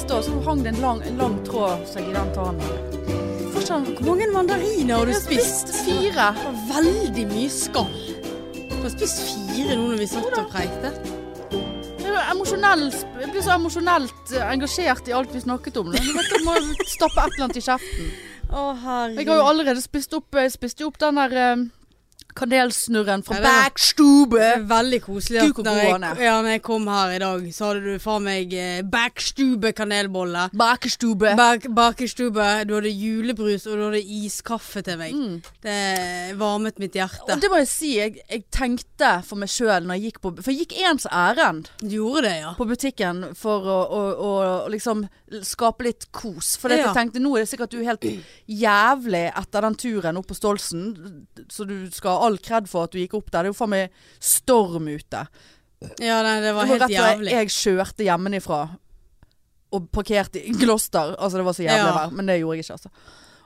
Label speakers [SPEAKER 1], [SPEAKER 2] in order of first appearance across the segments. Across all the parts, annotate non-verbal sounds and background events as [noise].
[SPEAKER 1] det er en lang, en lang tråd seg i den tannen. Fortsatt,
[SPEAKER 2] Hvor mange mandariner har du spist?
[SPEAKER 1] fire.
[SPEAKER 2] Det var veldig mye skall. Du har spist fire nå når vi satt og preiket.
[SPEAKER 1] Jeg er emosjonell- jeg blir så emosjonelt eh, engasjert i alt vi snakket om. nå. Jeg vet, jeg må stappe et eller annet i kjeften.
[SPEAKER 2] Å,
[SPEAKER 1] Jeg har jo
[SPEAKER 2] herregud.
[SPEAKER 1] allerede spist opp, jeg spiste jo opp den der eh, kanelsnurren fra
[SPEAKER 2] Ja, det var- Det
[SPEAKER 1] Backstube.
[SPEAKER 2] er veldig koselig
[SPEAKER 1] Kuk
[SPEAKER 2] at
[SPEAKER 1] og
[SPEAKER 2] når jeg,
[SPEAKER 1] gående.
[SPEAKER 2] ja, når jeg kom her i dag, så hadde du faen meg eh, backstube kanelbolle.
[SPEAKER 1] Backstube.
[SPEAKER 2] Bak, bakerstube, du hadde julebrus og du hadde iskaffe til meg. Det varmet mitt hjerte.
[SPEAKER 1] Mm. Og det må jeg si, jeg, jeg tenkte for meg sjøl når jeg gikk på For jeg gikk ens ærend
[SPEAKER 2] Du gjorde det, ja.
[SPEAKER 1] på butikken for å, å, å, liksom skape litt kos. For
[SPEAKER 2] Ja.
[SPEAKER 1] jeg tenkte nå er det sikkert du er helt jævlig etter den turen opp på Stolsen, så du skal ha all kred for at du gikk opp der. Det er jo faen meg storm ute.
[SPEAKER 2] Ja, nei, det var
[SPEAKER 1] Det var
[SPEAKER 2] helt
[SPEAKER 1] rett og slett
[SPEAKER 2] jævlig.
[SPEAKER 1] jeg kjørte hjemmefra og parkerte i Gloster. Altså, det var så jævlig
[SPEAKER 2] Ja.
[SPEAKER 1] vær, men det gjorde jeg ikke, altså.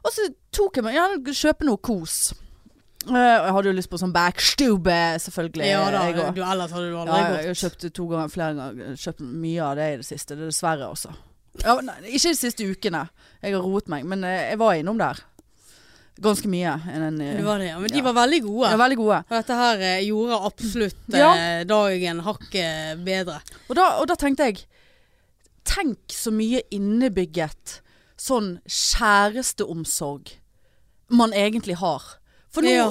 [SPEAKER 1] Og så tok jeg meg Ja, kjøpe noe kos. Eh, og jeg hadde jo lyst på sånn backstube, selvfølgelig.
[SPEAKER 2] Ja da,
[SPEAKER 1] jeg også.
[SPEAKER 2] du, ellers hadde du
[SPEAKER 1] Ja,
[SPEAKER 2] aldri
[SPEAKER 1] jeg har
[SPEAKER 2] gått.
[SPEAKER 1] kjøpt to ganger, flere ganger Kjøpt mye av det i det siste, det er dessverre også ja, nei, Ikke de siste ukene Jeg har roet meg, men eh, jeg var innom der Ganske mye en, en, eh,
[SPEAKER 2] Det var det, ja. Men de
[SPEAKER 1] Ja.
[SPEAKER 2] var veldig gode.
[SPEAKER 1] ja, Veldig gode
[SPEAKER 2] Og dette her eh, gjorde absolutt
[SPEAKER 1] Ja.
[SPEAKER 2] eh, dagen hakket bedre.
[SPEAKER 1] og da, og da tenkte jeg Tenk så mye innebygget Sånn kjæresteomsorg Man egentlig har For nå
[SPEAKER 2] Ja.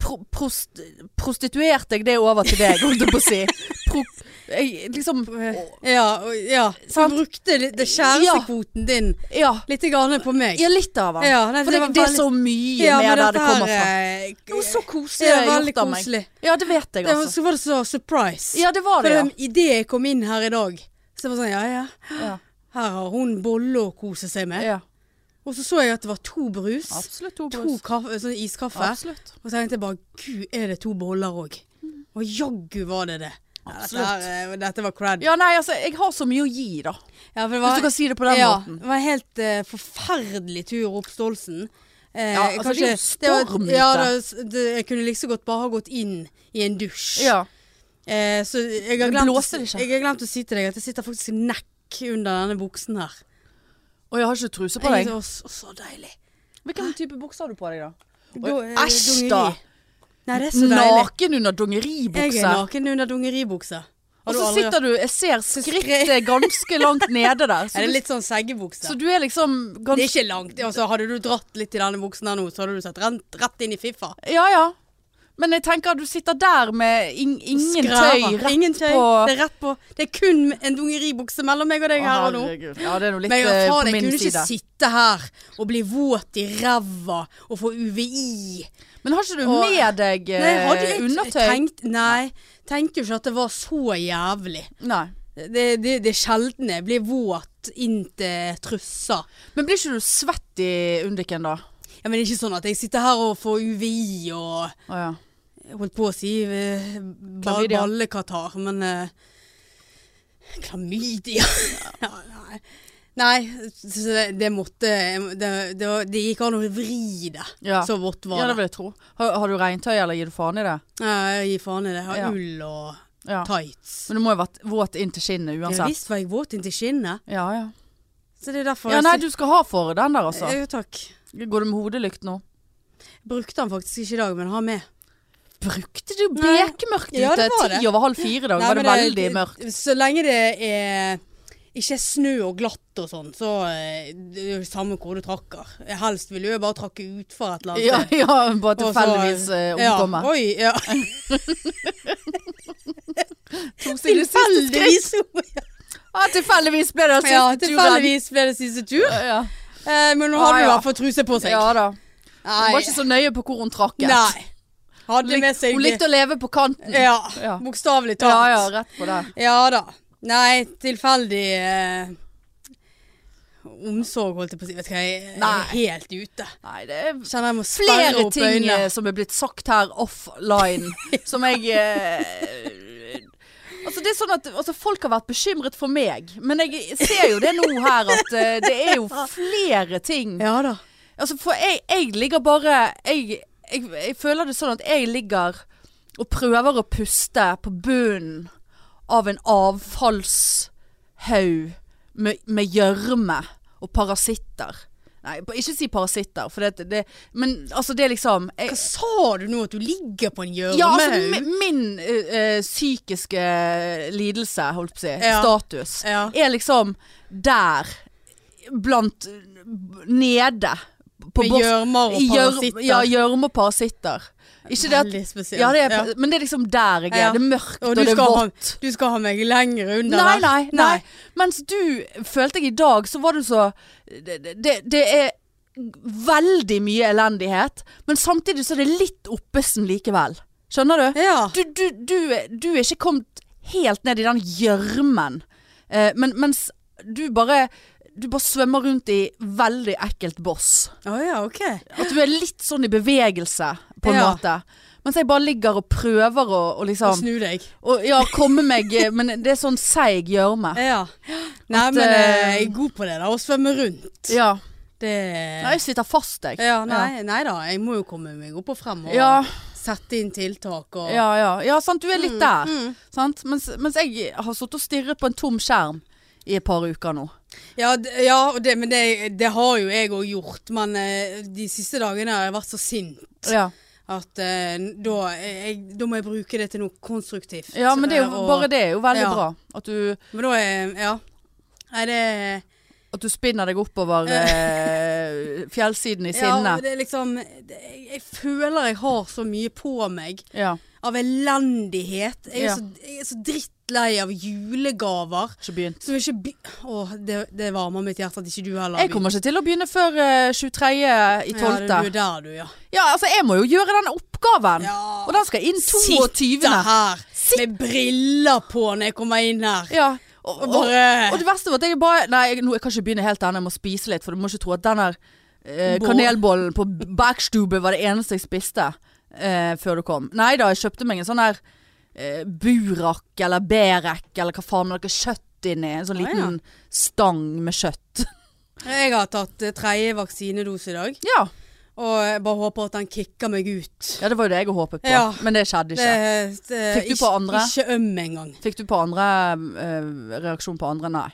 [SPEAKER 1] pro, prost, prostituerte jeg det over til deg Holdt jeg på å
[SPEAKER 2] [laughs]
[SPEAKER 1] si pro, jeg, Liksom
[SPEAKER 2] Ja, og- ja. Så
[SPEAKER 1] Sant?
[SPEAKER 2] du brukte litt- det kjærestekvoten din
[SPEAKER 1] Ja,
[SPEAKER 2] litt grann på meg.
[SPEAKER 1] ja litt av den
[SPEAKER 2] Ja, nei,
[SPEAKER 1] For det,
[SPEAKER 2] var
[SPEAKER 1] det er
[SPEAKER 2] veldig-
[SPEAKER 1] så mye
[SPEAKER 2] Ja, men
[SPEAKER 1] mer der det
[SPEAKER 2] dette
[SPEAKER 1] kommer
[SPEAKER 2] her,
[SPEAKER 1] fra.
[SPEAKER 2] eh,
[SPEAKER 1] Det var så koselig
[SPEAKER 2] Det var
[SPEAKER 1] gjort
[SPEAKER 2] veldig
[SPEAKER 1] av meg.
[SPEAKER 2] koselig.
[SPEAKER 1] Ja, det vet jeg,
[SPEAKER 2] Det var,
[SPEAKER 1] altså.
[SPEAKER 2] så var det så surprise.
[SPEAKER 1] Ja, det var
[SPEAKER 2] For
[SPEAKER 1] det, ja.
[SPEAKER 2] det, Idet jeg kom inn her i dag, så var det sånn ja ja,
[SPEAKER 1] ja.
[SPEAKER 2] her har hun bolle å kose seg med.
[SPEAKER 1] ja.
[SPEAKER 2] Og så så jeg at det var to brus,
[SPEAKER 1] Absolutt to
[SPEAKER 2] to kaffe, sånn iskaffe.
[SPEAKER 1] Absolutt.
[SPEAKER 2] Og så tenkte jeg bare gud, er det to boller òg? Og jaggu var det det. Ja, Dette,
[SPEAKER 1] Mm. Absolutt.
[SPEAKER 2] her, eh, dette var crad.
[SPEAKER 1] Ja, nei, altså, jeg har så mye å gi, da.
[SPEAKER 2] Ja, for det
[SPEAKER 1] Hvis du kan si det på den
[SPEAKER 2] ja,
[SPEAKER 1] måten.
[SPEAKER 2] det var en helt eh, forferdelig tur opp Stolsen. Eh,
[SPEAKER 1] Ja, altså, det er jo storm ute.
[SPEAKER 2] Ja, det, var s- det, jeg kunne like så godt bare ha gått inn i en dusj.
[SPEAKER 1] Ja.
[SPEAKER 2] Eh, så jeg har,
[SPEAKER 1] Men
[SPEAKER 2] glemt,
[SPEAKER 1] blåser det ikke?
[SPEAKER 2] jeg har glemt å si til deg at jeg sitter faktisk i nekk under denne buksen her.
[SPEAKER 1] Og jeg har ikke truse på
[SPEAKER 2] Jeg,
[SPEAKER 1] deg.
[SPEAKER 2] det var så, så deilig.
[SPEAKER 1] Hvilken type bukse har du på deg, da?
[SPEAKER 2] Du- eh,
[SPEAKER 1] Æsj, da!
[SPEAKER 2] dungeri. Nei, det er så deilig.
[SPEAKER 1] Naken under
[SPEAKER 2] Jeg er
[SPEAKER 1] dongeribukse.
[SPEAKER 2] naken under dungeribukse.
[SPEAKER 1] Og så sitter du Jeg ser skrittet ganske langt nede der.
[SPEAKER 2] [laughs] Er
[SPEAKER 1] Så
[SPEAKER 2] det
[SPEAKER 1] du,
[SPEAKER 2] litt sånn seggebukse?
[SPEAKER 1] så du er liksom
[SPEAKER 2] det er
[SPEAKER 1] ganske
[SPEAKER 2] ikke langt. Altså, hadde du dratt litt i denne buksen her nå, så hadde du sett rent, rett inn i fiffa.
[SPEAKER 1] Ja ja. Men jeg tenker at du sitter der med ing, ingen tøy
[SPEAKER 2] Skræver.
[SPEAKER 1] rett
[SPEAKER 2] Ingen tøy.
[SPEAKER 1] på
[SPEAKER 2] Det er rett på. Det er kun en dungeribukse mellom meg og deg
[SPEAKER 1] Å,
[SPEAKER 2] her og nå.
[SPEAKER 1] herregud. Ja, det er nå litt
[SPEAKER 2] Men jeg,
[SPEAKER 1] eh,
[SPEAKER 2] faen,
[SPEAKER 1] på
[SPEAKER 2] jeg
[SPEAKER 1] min
[SPEAKER 2] kunne
[SPEAKER 1] side.
[SPEAKER 2] ikke sitte her og bli våt i ræva og få UVI.
[SPEAKER 1] Men har ikke du
[SPEAKER 2] Og-
[SPEAKER 1] med deg eh,
[SPEAKER 2] Nei, jeg hadde litt
[SPEAKER 1] undertøy?
[SPEAKER 2] Tenkt, nei, tenkte jo ikke at det var så jævlig.
[SPEAKER 1] Nei.
[SPEAKER 2] Det, det, det er sjelden jeg blir våt inntil trussa.
[SPEAKER 1] Men blir ikke du svett i undiken da?
[SPEAKER 2] Ja, men det er ikke sånn at jeg sitter her og får UVI og
[SPEAKER 1] Å ja.
[SPEAKER 2] Jeg holdt på å si eh, ba-
[SPEAKER 1] Klamydia.
[SPEAKER 2] ballekatar, men eh, Klamydia [laughs] ja, Nei, nei så det, det måtte det, det, var- det gikk an å vri det.
[SPEAKER 1] Ja.
[SPEAKER 2] Så vått
[SPEAKER 1] ja,
[SPEAKER 2] var
[SPEAKER 1] det
[SPEAKER 2] det.
[SPEAKER 1] vil jeg tro. Har, har du regntøy, eller gir du faen i det?
[SPEAKER 2] Nei, Gi faen i det. Jeg Har
[SPEAKER 1] Ja.
[SPEAKER 2] ull og
[SPEAKER 1] Ja.
[SPEAKER 2] tights.
[SPEAKER 1] Men du må jo ha vært våt inn til skinnet
[SPEAKER 2] Ja
[SPEAKER 1] uansett.
[SPEAKER 2] visst var jeg våt inntil skinnet.
[SPEAKER 1] Ja, ja.
[SPEAKER 2] Så det er derfor
[SPEAKER 1] ja nei,
[SPEAKER 2] jeg
[SPEAKER 1] du skal ha for den der, altså.
[SPEAKER 2] Ja, takk.
[SPEAKER 1] Går du med hodelykt nå?
[SPEAKER 2] Brukte han faktisk ikke i dag, men ha med.
[SPEAKER 1] Brukte du
[SPEAKER 2] Nei.
[SPEAKER 1] bekmørkt
[SPEAKER 2] Ja,
[SPEAKER 1] ute?
[SPEAKER 2] det var det.
[SPEAKER 1] Ti over halv fire i dag
[SPEAKER 2] Nei,
[SPEAKER 1] var det
[SPEAKER 2] men
[SPEAKER 1] veldig mørkt.
[SPEAKER 2] Så lenge det er ikke er snø og glatt og sånn, så eh, det er jo samme hvor du trakker. Helst ville jeg bare trakke utfor et eller annet.
[SPEAKER 1] Ja,
[SPEAKER 2] sted.
[SPEAKER 1] ja, bare
[SPEAKER 2] Og så-
[SPEAKER 1] tilfeldigvis eh, omkomme.
[SPEAKER 2] Ja, oi,
[SPEAKER 1] [laughs]
[SPEAKER 2] ja.
[SPEAKER 1] To sine siste skritt.
[SPEAKER 2] Tilfeldigvis.
[SPEAKER 1] Ja, tilfeldigvis ble det siste
[SPEAKER 2] ja,
[SPEAKER 1] turen.
[SPEAKER 2] tilfeldigvis ble det siste tur.
[SPEAKER 1] Ja.
[SPEAKER 2] Eh, men nå
[SPEAKER 1] Ah,
[SPEAKER 2] hadde du i
[SPEAKER 1] ja.
[SPEAKER 2] hvert fall truse på seg.
[SPEAKER 1] ja da. Hun var
[SPEAKER 2] Nei.
[SPEAKER 1] ikke så nøye på hvor hun trakk.
[SPEAKER 2] Nei. Hadde
[SPEAKER 1] Lik-
[SPEAKER 2] med seg
[SPEAKER 1] Hun likte å leve på kanten.
[SPEAKER 2] Ja,
[SPEAKER 1] Ja.
[SPEAKER 2] bokstavelig talt.
[SPEAKER 1] Ja, ja, rett på det.
[SPEAKER 2] Ja da. Nei, tilfeldig eh, omsorg, holdt jeg på å si. Vet du hva, jeg
[SPEAKER 1] Nei.
[SPEAKER 2] er helt ute.
[SPEAKER 1] Nei, det er
[SPEAKER 2] Kjenner jeg må sperre
[SPEAKER 1] flere
[SPEAKER 2] opp
[SPEAKER 1] ting
[SPEAKER 2] øynene.
[SPEAKER 1] eh, som er blitt sagt her
[SPEAKER 2] [laughs]
[SPEAKER 1] offline, som jeg eh, Altså det er sånn at altså, Folk har vært bekymret for meg, men jeg ser jo det nå her at eh, det er
[SPEAKER 2] [laughs]
[SPEAKER 1] jo flere ting.
[SPEAKER 2] Ja da.
[SPEAKER 1] Altså for jeg, jeg ligger bare jeg, jeg, jeg føler det sånn at jeg ligger og prøver å puste på bunnen av en avfallshaug med med gjørme og parasitter. Nei, pa- ikke si parasitter, for det, det Men altså, det er liksom jeg,
[SPEAKER 2] Hva sa du nå? At du ligger på en gjørmehaug?
[SPEAKER 1] Ja, altså mi- min eh, eh, psykiske lidelse, holdt på å si,
[SPEAKER 2] Ja.
[SPEAKER 1] status,
[SPEAKER 2] Ja.
[SPEAKER 1] er liksom der blant Nede. På
[SPEAKER 2] Med
[SPEAKER 1] bos-
[SPEAKER 2] gjørmer og
[SPEAKER 1] i gjør-
[SPEAKER 2] parasitter.
[SPEAKER 1] Ja, gjørme og parasitter. Ikke det at
[SPEAKER 2] Veldig spesielt.
[SPEAKER 1] ja, det er,
[SPEAKER 2] Ja.
[SPEAKER 1] Men det er liksom der jeg er.
[SPEAKER 2] Ja.
[SPEAKER 1] Det er mørkt, og,
[SPEAKER 2] Og du
[SPEAKER 1] det er
[SPEAKER 2] skal ha,
[SPEAKER 1] vått.
[SPEAKER 2] du skal ha meg lenger under
[SPEAKER 1] Nei,
[SPEAKER 2] der.
[SPEAKER 1] nei, nei. Mens du følte jeg i dag, så var du så det, det, det er veldig mye elendighet, men samtidig så er det litt oppesen likevel. Skjønner du?
[SPEAKER 2] Ja.
[SPEAKER 1] Du, du, du, er- du er ikke kommet helt ned i den gjørmen, eh, men, mens du bare du bare svømmer rundt i veldig ekkelt boss.
[SPEAKER 2] Å ja, ok.
[SPEAKER 1] At du er litt sånn i bevegelse, på en
[SPEAKER 2] Ja.
[SPEAKER 1] måte. Mens jeg bare ligger og prøver å, å liksom
[SPEAKER 2] Snu deg.
[SPEAKER 1] og, Ja, komme meg eh, Men det er sånn seig gjørme.
[SPEAKER 2] Ja. Nei,
[SPEAKER 1] Ah. At,
[SPEAKER 2] men eh,
[SPEAKER 1] eh,
[SPEAKER 2] jeg er god på det der, å svømme rundt.
[SPEAKER 1] Ja.
[SPEAKER 2] Det
[SPEAKER 1] Nei, jeg sitter fast, jeg.
[SPEAKER 2] ja, nei, nei da, jeg må jo komme meg opp og frem og
[SPEAKER 1] Ja,
[SPEAKER 2] sette inn tiltak og
[SPEAKER 1] ja, ja. ja sant, du er litt der.
[SPEAKER 2] Mm.
[SPEAKER 1] Sant? Mens, mens jeg har sittet og stirret på en tom skjerm i et par uker nå.
[SPEAKER 2] Ja, d- ja og det, men det, det har jo jeg òg gjort. Men eh, de siste dagene har jeg vært så sint
[SPEAKER 1] Ja.
[SPEAKER 2] at eh, da, jeg, da må jeg bruke det til noe konstruktivt.
[SPEAKER 1] ja, men det er
[SPEAKER 2] eh,
[SPEAKER 1] jo,
[SPEAKER 2] og-
[SPEAKER 1] bare det er jo veldig
[SPEAKER 2] Ja.
[SPEAKER 1] bra. At du,
[SPEAKER 2] Men da er Ja. Nei, det
[SPEAKER 1] at du spinner deg oppover eh, fjellsiden i sinne.
[SPEAKER 2] Ja, det er liksom det, jeg, jeg føler jeg har så mye på meg
[SPEAKER 1] Ja.
[SPEAKER 2] av elendighet. Jeg er,
[SPEAKER 1] Ja.
[SPEAKER 2] så, jeg er så drittlei av julegaver.
[SPEAKER 1] Ikke begynt.
[SPEAKER 2] Som ikke by... Å, det, det varmer mitt hjerte at ikke du heller
[SPEAKER 1] Jeg kommer ikke til å begynne før eh, 23. i 12.
[SPEAKER 2] Ja, du er der, du, ja.
[SPEAKER 1] Ja, altså jeg må jo gjøre den oppgaven.
[SPEAKER 2] Ja.
[SPEAKER 1] Og den skal inn 22.
[SPEAKER 2] Sitter her
[SPEAKER 1] Sitt-
[SPEAKER 2] med briller på når jeg kommer inn her.
[SPEAKER 1] Ja. Og,
[SPEAKER 2] Og
[SPEAKER 1] og,
[SPEAKER 2] bare-
[SPEAKER 1] og det verste var at jeg bare Nei, jeg, nå, jeg kan ikke begynne helt ennå, jeg må spise litt. For du må ikke tro at den der eh,
[SPEAKER 2] Bål.
[SPEAKER 1] kanelbollen på backstube var det eneste jeg spiste eh, før du kom. Nei da, jeg kjøpte meg en sånn der eh, burak eller berek eller hva faen med noe kjøtt inni. En sånn
[SPEAKER 2] Ah,
[SPEAKER 1] liten stang med kjøtt. [laughs]
[SPEAKER 2] Jeg har tatt eh, tredje vaksinedose i dag,
[SPEAKER 1] Ja.
[SPEAKER 2] og jeg bare håper at den kicker meg ut.
[SPEAKER 1] ja, det var jo det jeg håpet på.
[SPEAKER 2] Ja.
[SPEAKER 1] Men det skjedde ikke.
[SPEAKER 2] Det- det-
[SPEAKER 1] Fikk du på
[SPEAKER 2] ikke-
[SPEAKER 1] andre?
[SPEAKER 2] Ikke øm engang.
[SPEAKER 1] Fikk du på andre eh, reaksjon på andre? Nei.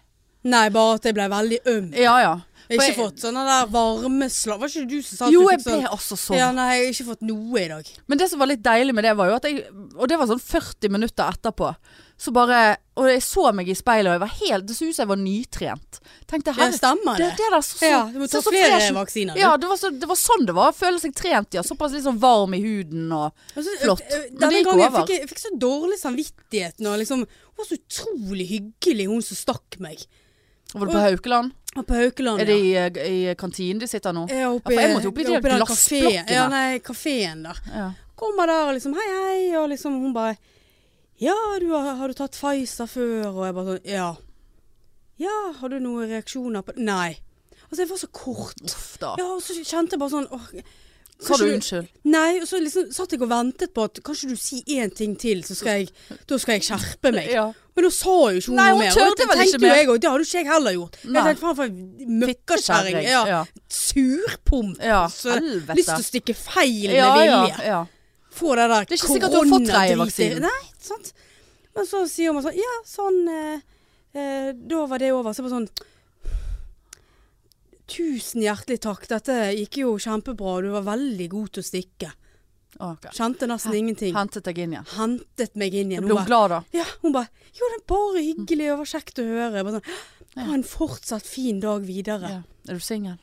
[SPEAKER 2] Nei, bare at jeg ble veldig øm.
[SPEAKER 1] Ja ja.
[SPEAKER 2] Jeg
[SPEAKER 1] For
[SPEAKER 2] har
[SPEAKER 1] jeg-
[SPEAKER 2] ikke fått sånne der varmeslag. Var ikke det du som sa at
[SPEAKER 1] Jo,
[SPEAKER 2] du
[SPEAKER 1] jeg
[SPEAKER 2] fikk
[SPEAKER 1] ble
[SPEAKER 2] sånn?
[SPEAKER 1] også sånn.
[SPEAKER 2] Ja, nei, jeg har ikke fått noe i dag.
[SPEAKER 1] Men det som var litt deilig med det var jo at jeg Og det var sånn 40 minutter etterpå Så bare Og jeg så meg i speilet Og jeg var helt Det så ut som jeg var nytrent Tenkte
[SPEAKER 2] Ja,
[SPEAKER 1] her
[SPEAKER 2] stemmer
[SPEAKER 1] det,
[SPEAKER 2] det.
[SPEAKER 1] det der så, så,
[SPEAKER 2] Ja, du må
[SPEAKER 1] så,
[SPEAKER 2] ta
[SPEAKER 1] så
[SPEAKER 2] flere
[SPEAKER 1] fresh ut.
[SPEAKER 2] vaksiner. du.
[SPEAKER 1] Ja, det var, så, det var sånn det var Føle seg trent, ja Såpass litt sånn varm i huden og
[SPEAKER 2] Altså,
[SPEAKER 1] Flott.
[SPEAKER 2] ø-
[SPEAKER 1] Men
[SPEAKER 2] ø-
[SPEAKER 1] det
[SPEAKER 2] Denne
[SPEAKER 1] gikk
[SPEAKER 2] gangen
[SPEAKER 1] over.
[SPEAKER 2] fikk jeg, jeg fikk så dårlig samvittighet når liksom Hun var så utrolig hyggelig, hun som stakk meg.
[SPEAKER 1] Var du på Haukeland?
[SPEAKER 2] Og På Haukeland,
[SPEAKER 1] Er det i, eh, i kantinen de sitter nå?
[SPEAKER 2] ja. Ja, oppe
[SPEAKER 1] Ja, for jeg
[SPEAKER 2] i-
[SPEAKER 1] måtte opp i de
[SPEAKER 2] oppe
[SPEAKER 1] der
[SPEAKER 2] den
[SPEAKER 1] glassblokkene.
[SPEAKER 2] kafeen- Ja, nei, kafeen der.
[SPEAKER 1] Ja
[SPEAKER 2] Kommer der og liksom Hei, hei, og liksom Hun bare Ja, du har, har du tatt Pfizer før? Og jeg bare sånn Ja. Ja, har du noen reaksjoner på det? Nei. Altså, jeg var så kort.
[SPEAKER 1] Uff da
[SPEAKER 2] Ja, og så kjente jeg bare sånn åh,
[SPEAKER 1] Sa du
[SPEAKER 2] kanskje-
[SPEAKER 1] unnskyld?
[SPEAKER 2] Nei, og så liksom satt jeg og ventet på at Kanskje du si én ting til, så skal jeg Da skal jeg skjerpe meg.
[SPEAKER 1] Ja
[SPEAKER 2] Men da sa jo ikke hun
[SPEAKER 1] Nei,
[SPEAKER 2] noe
[SPEAKER 1] hun
[SPEAKER 2] mer.
[SPEAKER 1] tørde vel ikke mer.
[SPEAKER 2] mer. Jeg, også, det hadde ikke jeg heller gjort.
[SPEAKER 1] Nei.
[SPEAKER 2] Jeg tenkte faen for en møkkakjerring.
[SPEAKER 1] Fikkeskjæring.
[SPEAKER 2] Ja.
[SPEAKER 1] Ja
[SPEAKER 2] Surpomp.
[SPEAKER 1] Ja,
[SPEAKER 2] Så
[SPEAKER 1] helvete.
[SPEAKER 2] Lyst til å stikke feil med
[SPEAKER 1] Ja, ja,
[SPEAKER 2] vilje.
[SPEAKER 1] ja
[SPEAKER 2] Få det der
[SPEAKER 1] Det er ikke sikkert du har fått
[SPEAKER 2] koronadritet.
[SPEAKER 1] tredjevaksinen.
[SPEAKER 2] Nei, sant. Men så sier man sånn Ja, sånn eh, eh, Da var det over. Så jeg bare sånn Tusen hjertelig takk. Dette gikk jo kjempebra. Du var veldig god til å stikke.
[SPEAKER 1] Ok.
[SPEAKER 2] Kjente nesten ingenting.
[SPEAKER 1] Hentet deg inn igjen
[SPEAKER 2] Hentet meg inn igjen. Hun
[SPEAKER 1] Ble
[SPEAKER 2] bare-
[SPEAKER 1] hun glad da?
[SPEAKER 2] ja, hun bare Jo, det er bare hyggelig, og det var kjekt å høre. Jeg Bare sånn, ha en fortsatt fin dag videre.
[SPEAKER 1] Ja.
[SPEAKER 2] Ja,
[SPEAKER 1] Er du single?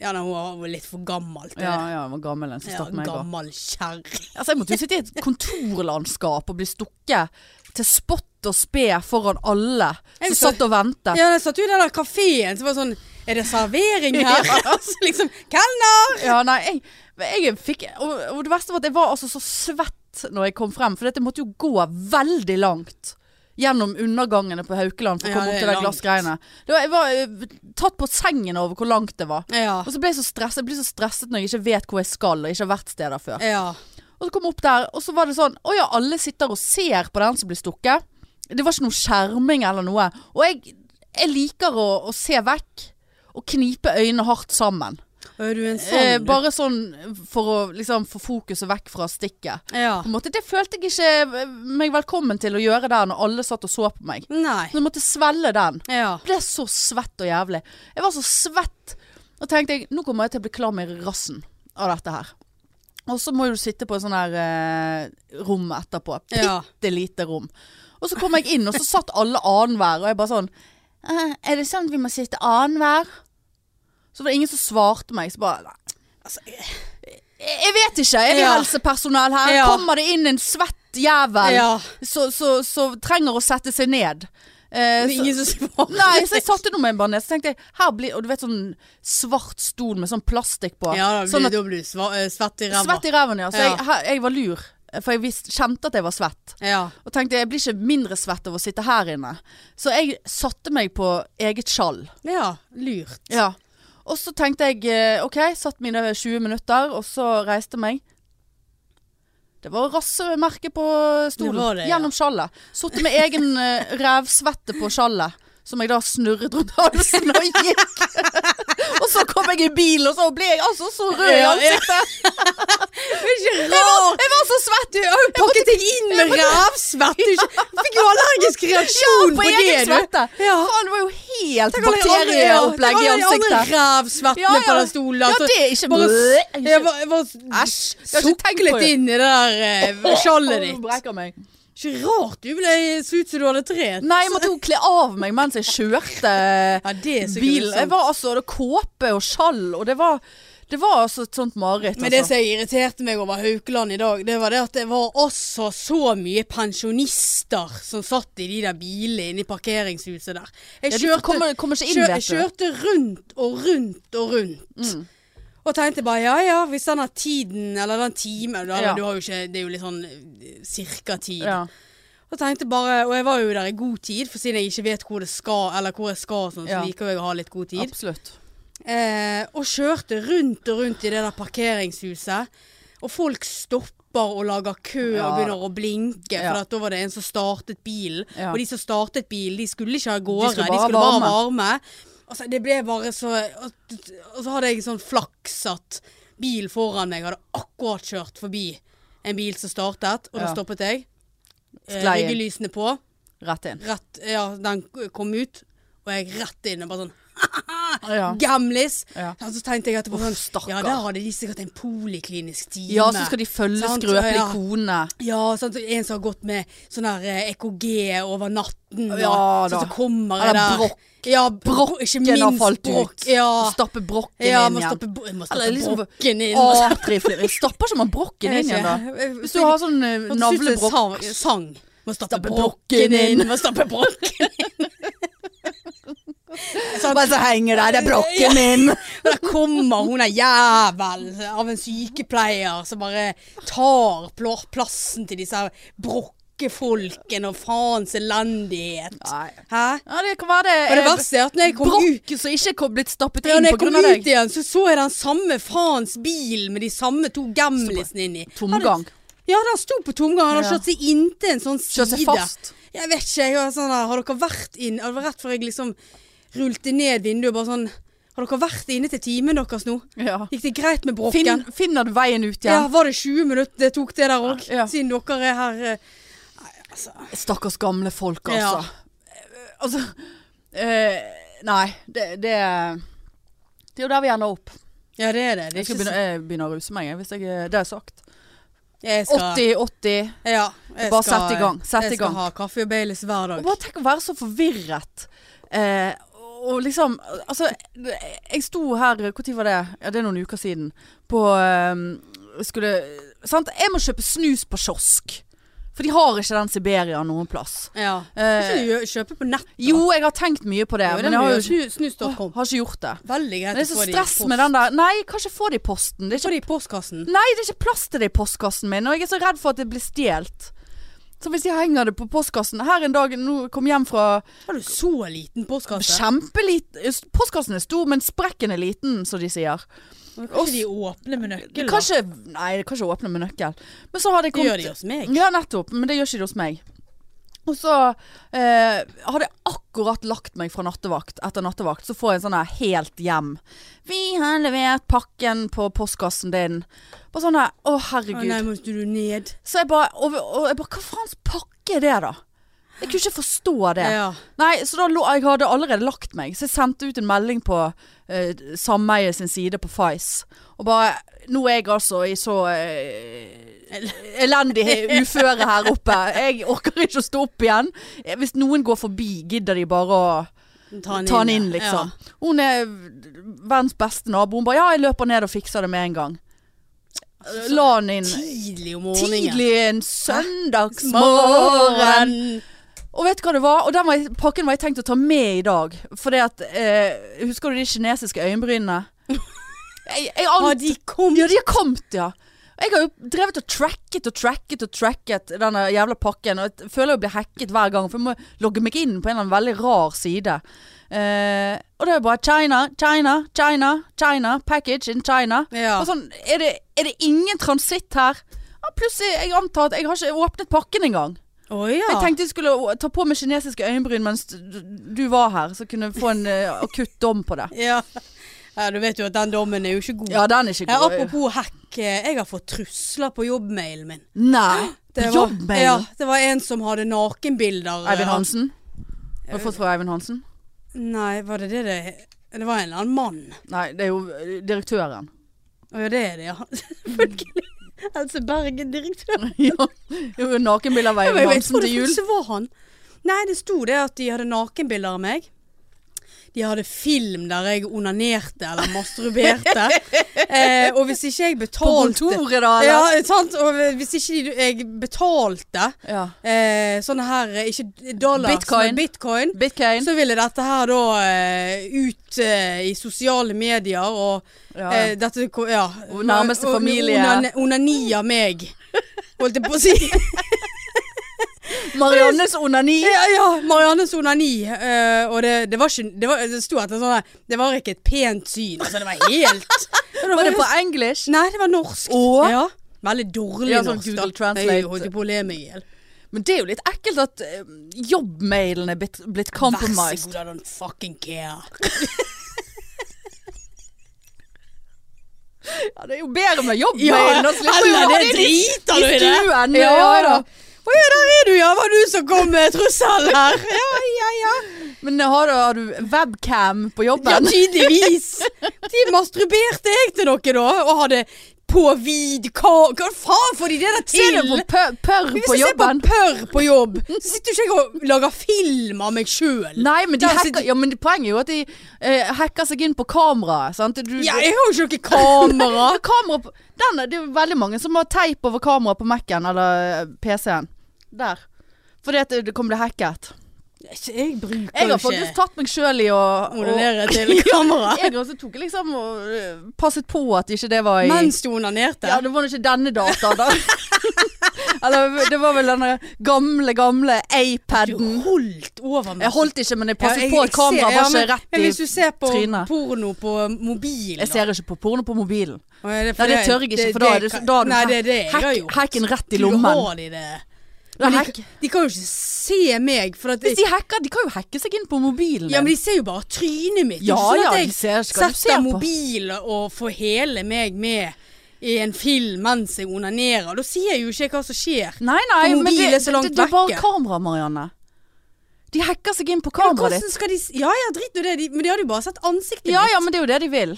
[SPEAKER 2] nei, hun var- hun var litt for gammel til
[SPEAKER 1] Ja,
[SPEAKER 2] det.
[SPEAKER 1] ja, hun var gammel en som
[SPEAKER 2] Ja,
[SPEAKER 1] stakk meg i går
[SPEAKER 2] gammel kjerre.
[SPEAKER 1] Altså, jeg måtte jo sitte i et kontorlandskap og bli stukket til spott og spe foran alle som
[SPEAKER 2] Jeg så-
[SPEAKER 1] satt og ventet.
[SPEAKER 2] Ja, jeg satt jo i den der kafeen, så var det sånn Er det
[SPEAKER 1] [laughs]
[SPEAKER 2] servering her? [laughs] så liksom Kelner!
[SPEAKER 1] Ja, nei, jeg, jeg fikk og, og det verste var at jeg var altså så svett når jeg kom frem, for dette måtte jo gå veldig langt. Gjennom undergangene på Haukeland for å
[SPEAKER 2] Ja,
[SPEAKER 1] komme opp
[SPEAKER 2] det er
[SPEAKER 1] til de
[SPEAKER 2] langt.
[SPEAKER 1] glassgreiene. Det var, jeg var eh, tatt på sengen over hvor langt det var.
[SPEAKER 2] Ja.
[SPEAKER 1] Og så ble jeg så stresset, jeg blir så stresset når jeg ikke vet hvor jeg skal og ikke har vært steder før.
[SPEAKER 2] Ja.
[SPEAKER 1] Og så kom jeg opp der, og så var det sånn Å ja, alle sitter og ser på den som blir stukket. Det var ikke noe skjerming eller noe. Og jeg, jeg liker å, å se vekk og knipe øynene hardt sammen.
[SPEAKER 2] Er du en sånn?
[SPEAKER 1] Eh,
[SPEAKER 2] du?
[SPEAKER 1] bare sånn for å liksom få fokuset vekk fra stikket.
[SPEAKER 2] Ja.
[SPEAKER 1] På en måte, det følte jeg ikke eh, meg velkommen til å gjøre der når alle satt og så på meg.
[SPEAKER 2] Nei.
[SPEAKER 1] Så jeg måtte svelge den.
[SPEAKER 2] Ja.
[SPEAKER 1] Jeg ble så svett og jævlig. Jeg var så svett. Og tenkte jeg, nå kommer jeg til å bli klam i rassen av dette her. Og så må jo du sitte på en sånn her eh, rom etterpå. Bitte
[SPEAKER 2] Ja.
[SPEAKER 1] lite rom. Og så kom jeg inn, og så satt alle annenhver. Og jeg bare sånn «Eh, Er det sant vi må sitte annenhver? Så var det ingen som svarte meg. Så bare nei.
[SPEAKER 2] Altså,
[SPEAKER 1] Jeg jeg vet ikke. Er det
[SPEAKER 2] Ja.
[SPEAKER 1] helsepersonell her?
[SPEAKER 2] Ja.
[SPEAKER 1] Kommer det inn en svett jævel
[SPEAKER 2] ja.
[SPEAKER 1] som så, så trenger å sette seg ned? Eh,
[SPEAKER 2] Det er
[SPEAKER 1] så- [laughs]
[SPEAKER 2] ingen som svarer.
[SPEAKER 1] Nei, så jeg satte noe med en barnes Så tenkte jeg, her blir Og du vet sånn svart stol med sånn plastikk på
[SPEAKER 2] [laughs] Ja, da blir,
[SPEAKER 1] Sånn at
[SPEAKER 2] da blir du sva- eh, svett i ræva.
[SPEAKER 1] svett i reven, ja Så
[SPEAKER 2] Ja.
[SPEAKER 1] jeg, her, jeg var lur For jeg visst, kjente at jeg var svett
[SPEAKER 2] Ja.
[SPEAKER 1] Og tenkte, jeg blir ikke mindre svett av å sitte her inne Så jeg satte meg på eget skjall
[SPEAKER 2] ja. Lurt.
[SPEAKER 1] Ja Og så tenkte jeg, eh, ok, satt mine 20 minutter Og så reiste jeg meg det var rassemerke på stolen
[SPEAKER 2] Det var det, ja.
[SPEAKER 1] Gjennom skjallet Sottet med egen eh, revsvette på skjallet Som jeg da snurret rundt halsen og gikk [laughs] Og så kom jeg i bil Og så ble jeg altså så rød i
[SPEAKER 2] Ja, ja. [laughs]
[SPEAKER 1] ansiktet
[SPEAKER 2] Det er ikke
[SPEAKER 1] jeg var,
[SPEAKER 2] rart!
[SPEAKER 1] jeg var så svett
[SPEAKER 2] Du har jo pakket deg inn
[SPEAKER 1] [laughs]
[SPEAKER 2] med rævsvett! Du ikke- fikk jo allergisk reaksjon
[SPEAKER 1] på
[SPEAKER 2] på det,
[SPEAKER 1] egen
[SPEAKER 2] du.
[SPEAKER 1] svette
[SPEAKER 2] Ja.
[SPEAKER 1] Faen, det var jo helt
[SPEAKER 2] Tenk alle de andre-
[SPEAKER 1] bakterieopplegg i
[SPEAKER 2] Tenk alle de andre
[SPEAKER 1] ansiktet
[SPEAKER 2] rævsvettene
[SPEAKER 1] Ja, ja.
[SPEAKER 2] på den stolen.
[SPEAKER 1] Ja,
[SPEAKER 2] altså.
[SPEAKER 1] det er ikke
[SPEAKER 2] Bare,
[SPEAKER 1] Bleh.
[SPEAKER 2] jeg bare, jeg bare
[SPEAKER 1] Æsj jeg har ikke tenkt på
[SPEAKER 2] suklet
[SPEAKER 1] det.
[SPEAKER 2] inn i det der eh, skjallet
[SPEAKER 1] Åh,
[SPEAKER 2] ditt.
[SPEAKER 1] nå brekker jeg meg
[SPEAKER 2] Ikke rart du ble så ut som du hadde trent.
[SPEAKER 1] Nei, jeg måtte jo kle av meg mens jeg kjørte
[SPEAKER 2] Ja, det er sånn, så
[SPEAKER 1] bil. Jeg
[SPEAKER 2] grusomt.
[SPEAKER 1] var altså det var kåpe og skjall, og det var, det var altså et sånt mareritt.
[SPEAKER 2] Men det
[SPEAKER 1] altså.
[SPEAKER 2] som irriterte meg over Haukeland i dag, det var det at det var altså så mye pensjonister som satt i de der bilene inne i parkeringshuset der. Jeg
[SPEAKER 1] ja, du kommer, kommer ikke inn,
[SPEAKER 2] kjør, jeg
[SPEAKER 1] vet du.
[SPEAKER 2] kjørte rundt og rundt og rundt. Og tenkte bare ja ja, hvis den har tiden, eller den timen da,
[SPEAKER 1] Ja.
[SPEAKER 2] du har jo ikke, Det er jo litt sånn eh, cirka tid.
[SPEAKER 1] Ja.
[SPEAKER 2] Og tenkte bare, og jeg var jo der i god tid, for siden jeg ikke vet hvor det skal, eller hvor jeg skal, og sånn, så
[SPEAKER 1] Ja.
[SPEAKER 2] liker jeg å ha litt god tid.
[SPEAKER 1] Absolutt.
[SPEAKER 2] Eh, og kjørte rundt og rundt i det der parkeringshuset. Og folk stopper og lager kø
[SPEAKER 1] Ja.
[SPEAKER 2] og begynner å blinke. For
[SPEAKER 1] Ja.
[SPEAKER 2] at da var det en som startet bilen.
[SPEAKER 1] Ja.
[SPEAKER 2] Og de som startet bilen, de skulle ikke av gårde. De
[SPEAKER 1] skulle bare
[SPEAKER 2] skulle bare,
[SPEAKER 1] ha varme.
[SPEAKER 2] varme. Altså, det ble bare så Og og så hadde jeg sånn flaks at bilen foran meg hadde akkurat kjørt forbi en bil som startet, og da
[SPEAKER 1] Ja.
[SPEAKER 2] stoppet jeg. Eh,
[SPEAKER 1] Sklei inn.
[SPEAKER 2] Ryggelysene på
[SPEAKER 1] Rett inn.
[SPEAKER 2] rett, ja, den kom ut, og jeg rett inn og bare sånn
[SPEAKER 1] Ja.
[SPEAKER 2] Gamlis!
[SPEAKER 1] Ja.
[SPEAKER 2] Og Så tenkte jeg at det var
[SPEAKER 1] Uff,
[SPEAKER 2] sånn,
[SPEAKER 1] stakkar.
[SPEAKER 2] ja, der hadde de sikkert en poliklinisk time.
[SPEAKER 1] ja, så skal de følge
[SPEAKER 2] Sant,
[SPEAKER 1] skrøpelige
[SPEAKER 2] ja.
[SPEAKER 1] kone.
[SPEAKER 2] Ja, sant, så en som har gått med sånn her eh, EKG over natten. Og,
[SPEAKER 1] Ja,
[SPEAKER 2] sånn
[SPEAKER 1] da.
[SPEAKER 2] som kommer
[SPEAKER 1] Eller
[SPEAKER 2] der.
[SPEAKER 1] brokk.
[SPEAKER 2] Ja, brokk. Ikke
[SPEAKER 1] Den
[SPEAKER 2] minst
[SPEAKER 1] har falt
[SPEAKER 2] brokk.
[SPEAKER 1] ut.
[SPEAKER 2] Ja.
[SPEAKER 1] Stappe brokken
[SPEAKER 2] Ja,
[SPEAKER 1] inn
[SPEAKER 2] må
[SPEAKER 1] igjen.
[SPEAKER 2] stappe, bo- må stappe
[SPEAKER 1] Eller liksom-
[SPEAKER 2] brokken inn.
[SPEAKER 1] Atrieflir. Stapper ikke man brokken inn igjen da? Hvis du har sånn eh, navlebrokk
[SPEAKER 2] Sang. sang. Må stappe,
[SPEAKER 1] Stappe brokken
[SPEAKER 2] brokken inn.
[SPEAKER 1] inn.
[SPEAKER 2] Må stappe brokken
[SPEAKER 1] Bare så henger der, det er brokken min!
[SPEAKER 2] Der kommer hun er jævel av en sykepleier som bare tar pl- plassen til disse her brokkefolkene og faens elendighet.
[SPEAKER 1] Nei.
[SPEAKER 2] Hæ?
[SPEAKER 1] Ja, det kan være det.
[SPEAKER 2] Og det
[SPEAKER 1] eh,
[SPEAKER 2] verste er at når jeg kom ut
[SPEAKER 1] Brokk som ikke er blitt stappet
[SPEAKER 2] ja,
[SPEAKER 1] inn
[SPEAKER 2] når jeg
[SPEAKER 1] på
[SPEAKER 2] kom
[SPEAKER 1] grunn av
[SPEAKER 2] ut
[SPEAKER 1] deg.
[SPEAKER 2] igjen, så så jeg den samme faens bil med de samme to gamlisene inni.
[SPEAKER 1] Tomgang.
[SPEAKER 2] Ja, den sto på tomgang. Han hadde
[SPEAKER 1] Ja.
[SPEAKER 2] kjørt seg inntil en sånn side.
[SPEAKER 1] Kjør seg fast.
[SPEAKER 2] Jeg vet ikke, jeg var sånn der, har dere vært inn Det var rett før jeg liksom rullte ned vinduet bare sånn Har dere vært inne til timen deres nå?
[SPEAKER 1] Ja.
[SPEAKER 2] Gikk det greit med brokken?
[SPEAKER 1] Finn, finner du veien ut
[SPEAKER 2] ja,
[SPEAKER 1] igjen?
[SPEAKER 2] var det 20 minutter det tok det der òg?
[SPEAKER 1] Ja.
[SPEAKER 2] Siden dere er her eh,
[SPEAKER 1] Stakkars gamle folk, altså. Eh, Altså eh, Nei, det, det Det er jo der vi ender opp.
[SPEAKER 2] Ja, det er det. det er
[SPEAKER 1] Jeg skal
[SPEAKER 2] ikke
[SPEAKER 1] begynne, jeg begynner å ruse meg, jeg, hvis jeg, eh, det har jeg sagt.
[SPEAKER 2] så- jeg skal,
[SPEAKER 1] 80-80.
[SPEAKER 2] Ja, jeg
[SPEAKER 1] Bare
[SPEAKER 2] skal, eh,
[SPEAKER 1] sett i gang, sett i
[SPEAKER 2] jeg
[SPEAKER 1] gang.
[SPEAKER 2] skal ha kaffe og Baileys hver dag.
[SPEAKER 1] Og bare tenk å være så forvirret. Eh, og liksom Altså, jeg sto her Når var det? Ja, det er noen uker siden. På eh, Skulle Sant? Jeg må kjøpe snus på kiosk. For de har ikke den Siberia noen plass.
[SPEAKER 2] Ja. Kanskje
[SPEAKER 1] Eh,
[SPEAKER 2] du gjør- kjøper på nett?
[SPEAKER 1] jo, jeg har tenkt mye på det,
[SPEAKER 2] Ja,
[SPEAKER 1] men jeg har jo ikke,
[SPEAKER 2] snus.com.
[SPEAKER 1] har ikke gjort det.
[SPEAKER 2] Veldig greit
[SPEAKER 1] Men det er så stress med den der Nei, kanskje få det i posten. Det er ikke
[SPEAKER 2] Få det i postkassen.
[SPEAKER 1] Nei, det er ikke plass til det i postkassen min, og jeg er så redd for at det blir stjålet. Så hvis jeg henger det på postkassen Her en dag, nå kom jeg hjem fra
[SPEAKER 2] Har du så liten postkasse?
[SPEAKER 1] kjempeliten Postkassen er stor, men sprekken er liten, som de sier.
[SPEAKER 2] Kanskje de åpner med nøkkel? da?
[SPEAKER 1] Kanskje Nei, det kan ikke åpne med nøkkel. Men så hadde jeg
[SPEAKER 2] Det
[SPEAKER 1] kommet
[SPEAKER 2] gjør de hos meg.
[SPEAKER 1] Ja, nettopp. Men det gjør ikke det hos meg. Og så eh, hadde jeg akkurat lagt meg fra nattevakt etter nattevakt, så får jeg en sånn her helt hjem. Vi har levert pakken på postkassen din. Bare sånn her, å
[SPEAKER 2] Å
[SPEAKER 1] herregud.
[SPEAKER 2] nei, må du ned?
[SPEAKER 1] Så jeg bare, og, og jeg bare, hva faens pakke er det da? Jeg kunne ikke forstå det.
[SPEAKER 2] Ja.
[SPEAKER 1] Nei, så da lå, jeg hadde allerede lagt meg, så jeg sendte ut en melding på eh, sameiet sin side på Fice. Og bare Nå er jeg altså i så eh, elendig uføre her oppe. Jeg orker ikke å stå opp igjen. Eh, Hvis noen går forbi, gidder de bare å
[SPEAKER 2] Ta han inn,
[SPEAKER 1] ta han inn,
[SPEAKER 2] ja.
[SPEAKER 1] liksom. Hun er verdens beste nabo. Hun bare Ja, jeg løper ned og fikser det med en gang. La han inn
[SPEAKER 2] Ja. Tidlig om morgenen.
[SPEAKER 1] tidlig en søndagsmorgen. Og vet du hva det var? Og den var jeg, pakken var jeg tenkt å ta med i dag. For det at eh, Husker du de kinesiske
[SPEAKER 2] [laughs]
[SPEAKER 1] øyenbrynene? Jeg, jeg
[SPEAKER 2] Har
[SPEAKER 1] ante
[SPEAKER 2] de kommet?
[SPEAKER 1] Ja, de har kommet, ja. Jeg har jo drevet og tracket og tracket og tracket denne jævla pakken. Og jeg føler jeg blir hacket hver gang, for jeg må logge meg inn på en eller annen veldig rar side. Eh, og det er bare China, China, China, China, package in China.
[SPEAKER 2] Ja.
[SPEAKER 1] Og sånn, er det, er det ingen transitt her? Ja, plutselig, jeg antar at jeg har ikke åpnet pakken engang.
[SPEAKER 2] Å ja.
[SPEAKER 1] Jeg tenkte jeg skulle å- ta på meg kinesiske øyenbryn mens du du var her, så kunne jeg få en eh, akutt dom på det.
[SPEAKER 2] ja. ja, du vet jo at den dommen er jo ikke god.
[SPEAKER 1] Ja, den er ikke
[SPEAKER 2] Ja,
[SPEAKER 1] god.
[SPEAKER 2] apropos hack, eh, jeg har fått trusler på jobbmailen min.
[SPEAKER 1] Nei, [gasps]
[SPEAKER 2] Det var-
[SPEAKER 1] jobbmail.
[SPEAKER 2] Ja, det var en som hadde nakenbilder. eh,
[SPEAKER 1] Eivind Hansen? Har du fått fra Eivind Hansen?
[SPEAKER 2] Nei, var det det det Det var en eller annen mann.
[SPEAKER 1] Nei, det er jo eh, direktøren.
[SPEAKER 2] Å ja, det er det, ja. [laughs] Selvfølgelig. Else Bergen, direktør.
[SPEAKER 1] [laughs] ja. jo, Nakenbilde av
[SPEAKER 2] Jeg,
[SPEAKER 1] Eivind
[SPEAKER 2] jeg
[SPEAKER 1] Hansen
[SPEAKER 2] trodde
[SPEAKER 1] til jul.
[SPEAKER 2] faktisk det var han. Nei, det sto det at de hadde nakenbilder av meg. De hadde film der jeg onanerte eller masturberte.
[SPEAKER 1] [laughs]
[SPEAKER 2] eh, og hvis ikke jeg
[SPEAKER 1] På
[SPEAKER 2] betalte
[SPEAKER 1] kontoret, da?
[SPEAKER 2] Ja,
[SPEAKER 1] Eller?
[SPEAKER 2] sant? Og hvis ikke de- jeg betalte
[SPEAKER 1] Ja.
[SPEAKER 2] eh, sånne her eh, Ikke dollars,
[SPEAKER 1] Bitcoin.
[SPEAKER 2] men bitcoin.
[SPEAKER 1] Bitcoin.
[SPEAKER 2] Så ville dette her da eh, ut eh, i sosiale medier og
[SPEAKER 1] Ja.
[SPEAKER 2] eh, dette ko- Ja.
[SPEAKER 1] Og nærmeste
[SPEAKER 2] Og- og-
[SPEAKER 1] familie.
[SPEAKER 2] onan- Onani av meg. Holdt jeg på å si.
[SPEAKER 1] [laughs] Mariannes onani.
[SPEAKER 2] Ja, ja. Mariannes onani. eh, og det, det var ikke Det, var, det sto etter sånn her Det var ikke et pent syn. Altså, det var helt
[SPEAKER 1] [laughs] Var det på engelsk?
[SPEAKER 2] Nei, det var norsk.
[SPEAKER 1] Å?
[SPEAKER 2] Ja. Veldig dårlig
[SPEAKER 1] Ja, sånn
[SPEAKER 2] norsk.
[SPEAKER 1] Google
[SPEAKER 2] da.
[SPEAKER 1] Translate.
[SPEAKER 2] Jeg holdt jo på å le meg i hjel.
[SPEAKER 1] Men det er jo litt ekkelt at eh, jobbmailen er blitt, blitt
[SPEAKER 2] Vær så
[SPEAKER 1] compromised.
[SPEAKER 2] god, I don't fucking [laughs] care.
[SPEAKER 1] Ja, det er jo bedre med jobbmailen. da slipper vi å
[SPEAKER 2] eller
[SPEAKER 1] ha
[SPEAKER 2] det
[SPEAKER 1] den i- i
[SPEAKER 2] driter du i det.
[SPEAKER 1] stuen,
[SPEAKER 2] Ja,
[SPEAKER 1] ja
[SPEAKER 2] da.
[SPEAKER 1] da.
[SPEAKER 2] Å ja, der er du, ja. Var du som kom med trussel her? [laughs] Ja, ja, ja.
[SPEAKER 1] Men har du, har du webcam på
[SPEAKER 2] Ja,
[SPEAKER 1] jobben?
[SPEAKER 2] tydeligvis. De masturberte jeg til dere da, og hadde på vid ka... Hva faen får de det der til?
[SPEAKER 1] [laughs] Ser du på pør- pørr
[SPEAKER 2] Hvis
[SPEAKER 1] på
[SPEAKER 2] jeg ser på
[SPEAKER 1] jobben?
[SPEAKER 2] pørr på jobb, så sitter jo ikke jeg og lager film av meg sjøl.
[SPEAKER 1] Nei, men, de
[SPEAKER 2] Der
[SPEAKER 1] hacker,
[SPEAKER 2] sitter-
[SPEAKER 1] ja, men poenget er jo at de eh, hacker seg inn på kameraet. sant? Du,
[SPEAKER 2] Ja, jeg har jo ikke noe
[SPEAKER 1] kamera.
[SPEAKER 2] kamera.
[SPEAKER 1] Ja, kamera på, den, er- det er jo veldig mange som har teip over kameraet på Mac-en eller eh, PC-en. Der. Fordi at det- det kan bli hacket.
[SPEAKER 2] [laughs] Jeg bruker
[SPEAKER 1] Jeg
[SPEAKER 2] jo
[SPEAKER 1] har faktisk tatt meg sjøl i å og,
[SPEAKER 2] onanere [laughs] til kamera.
[SPEAKER 1] Jeg også tok liksom og eh, passet på at ikke det var i
[SPEAKER 2] Mens du onanerte.
[SPEAKER 1] Ja, det var nå ikke denne dataen,
[SPEAKER 2] [laughs]
[SPEAKER 1] da. eller det var vel denne gamle, gamle
[SPEAKER 2] Du
[SPEAKER 1] iPaden.
[SPEAKER 2] holdt over meg.
[SPEAKER 1] Jeg holdt ikke, men jeg passet
[SPEAKER 2] altså- Ja, jeg-
[SPEAKER 1] på at
[SPEAKER 2] jeg
[SPEAKER 1] kameraet
[SPEAKER 2] ser-
[SPEAKER 1] var
[SPEAKER 2] men-
[SPEAKER 1] ikke rett
[SPEAKER 2] Men
[SPEAKER 1] i
[SPEAKER 2] hvis du ser på
[SPEAKER 1] trynet.
[SPEAKER 2] porno på mobilen
[SPEAKER 1] Jeg ser ikke på porno på mobilen.
[SPEAKER 2] Nei,
[SPEAKER 1] Nei, det tør jeg ikke, for da er det, da er du
[SPEAKER 2] Nei, det er det jeg har
[SPEAKER 1] hack-
[SPEAKER 2] gjort.
[SPEAKER 1] hacken rett i lommen.
[SPEAKER 2] Du har de det.
[SPEAKER 1] Det er
[SPEAKER 2] Men de,
[SPEAKER 1] hack.
[SPEAKER 2] de kan jo ikke se meg, for at
[SPEAKER 1] Hvis de hacker, de kan jo hacke seg inn på mobilen.
[SPEAKER 2] Ja, men
[SPEAKER 1] din.
[SPEAKER 2] de ser jo bare trynet mitt. Det
[SPEAKER 1] ja,
[SPEAKER 2] er ikke sånn
[SPEAKER 1] ja,
[SPEAKER 2] at
[SPEAKER 1] de ser skal
[SPEAKER 2] jeg
[SPEAKER 1] du se
[SPEAKER 2] setter
[SPEAKER 1] på.
[SPEAKER 2] mobil og får hele meg med i en film mens jeg onanerer. Da ser jeg jo ikke hva som skjer.
[SPEAKER 1] Nei, nei,
[SPEAKER 2] For
[SPEAKER 1] men det,
[SPEAKER 2] mobil er så langt
[SPEAKER 1] det, det er bare
[SPEAKER 2] vekke.
[SPEAKER 1] kamera, Marianne. De hacker seg inn på
[SPEAKER 2] Men
[SPEAKER 1] kameraet ditt.
[SPEAKER 2] Hvordan skal de s- Ja ja, drit nå det. De, men de hadde jo bare sett ansiktet
[SPEAKER 1] Ja
[SPEAKER 2] mitt.
[SPEAKER 1] ja, men det er jo det de vil.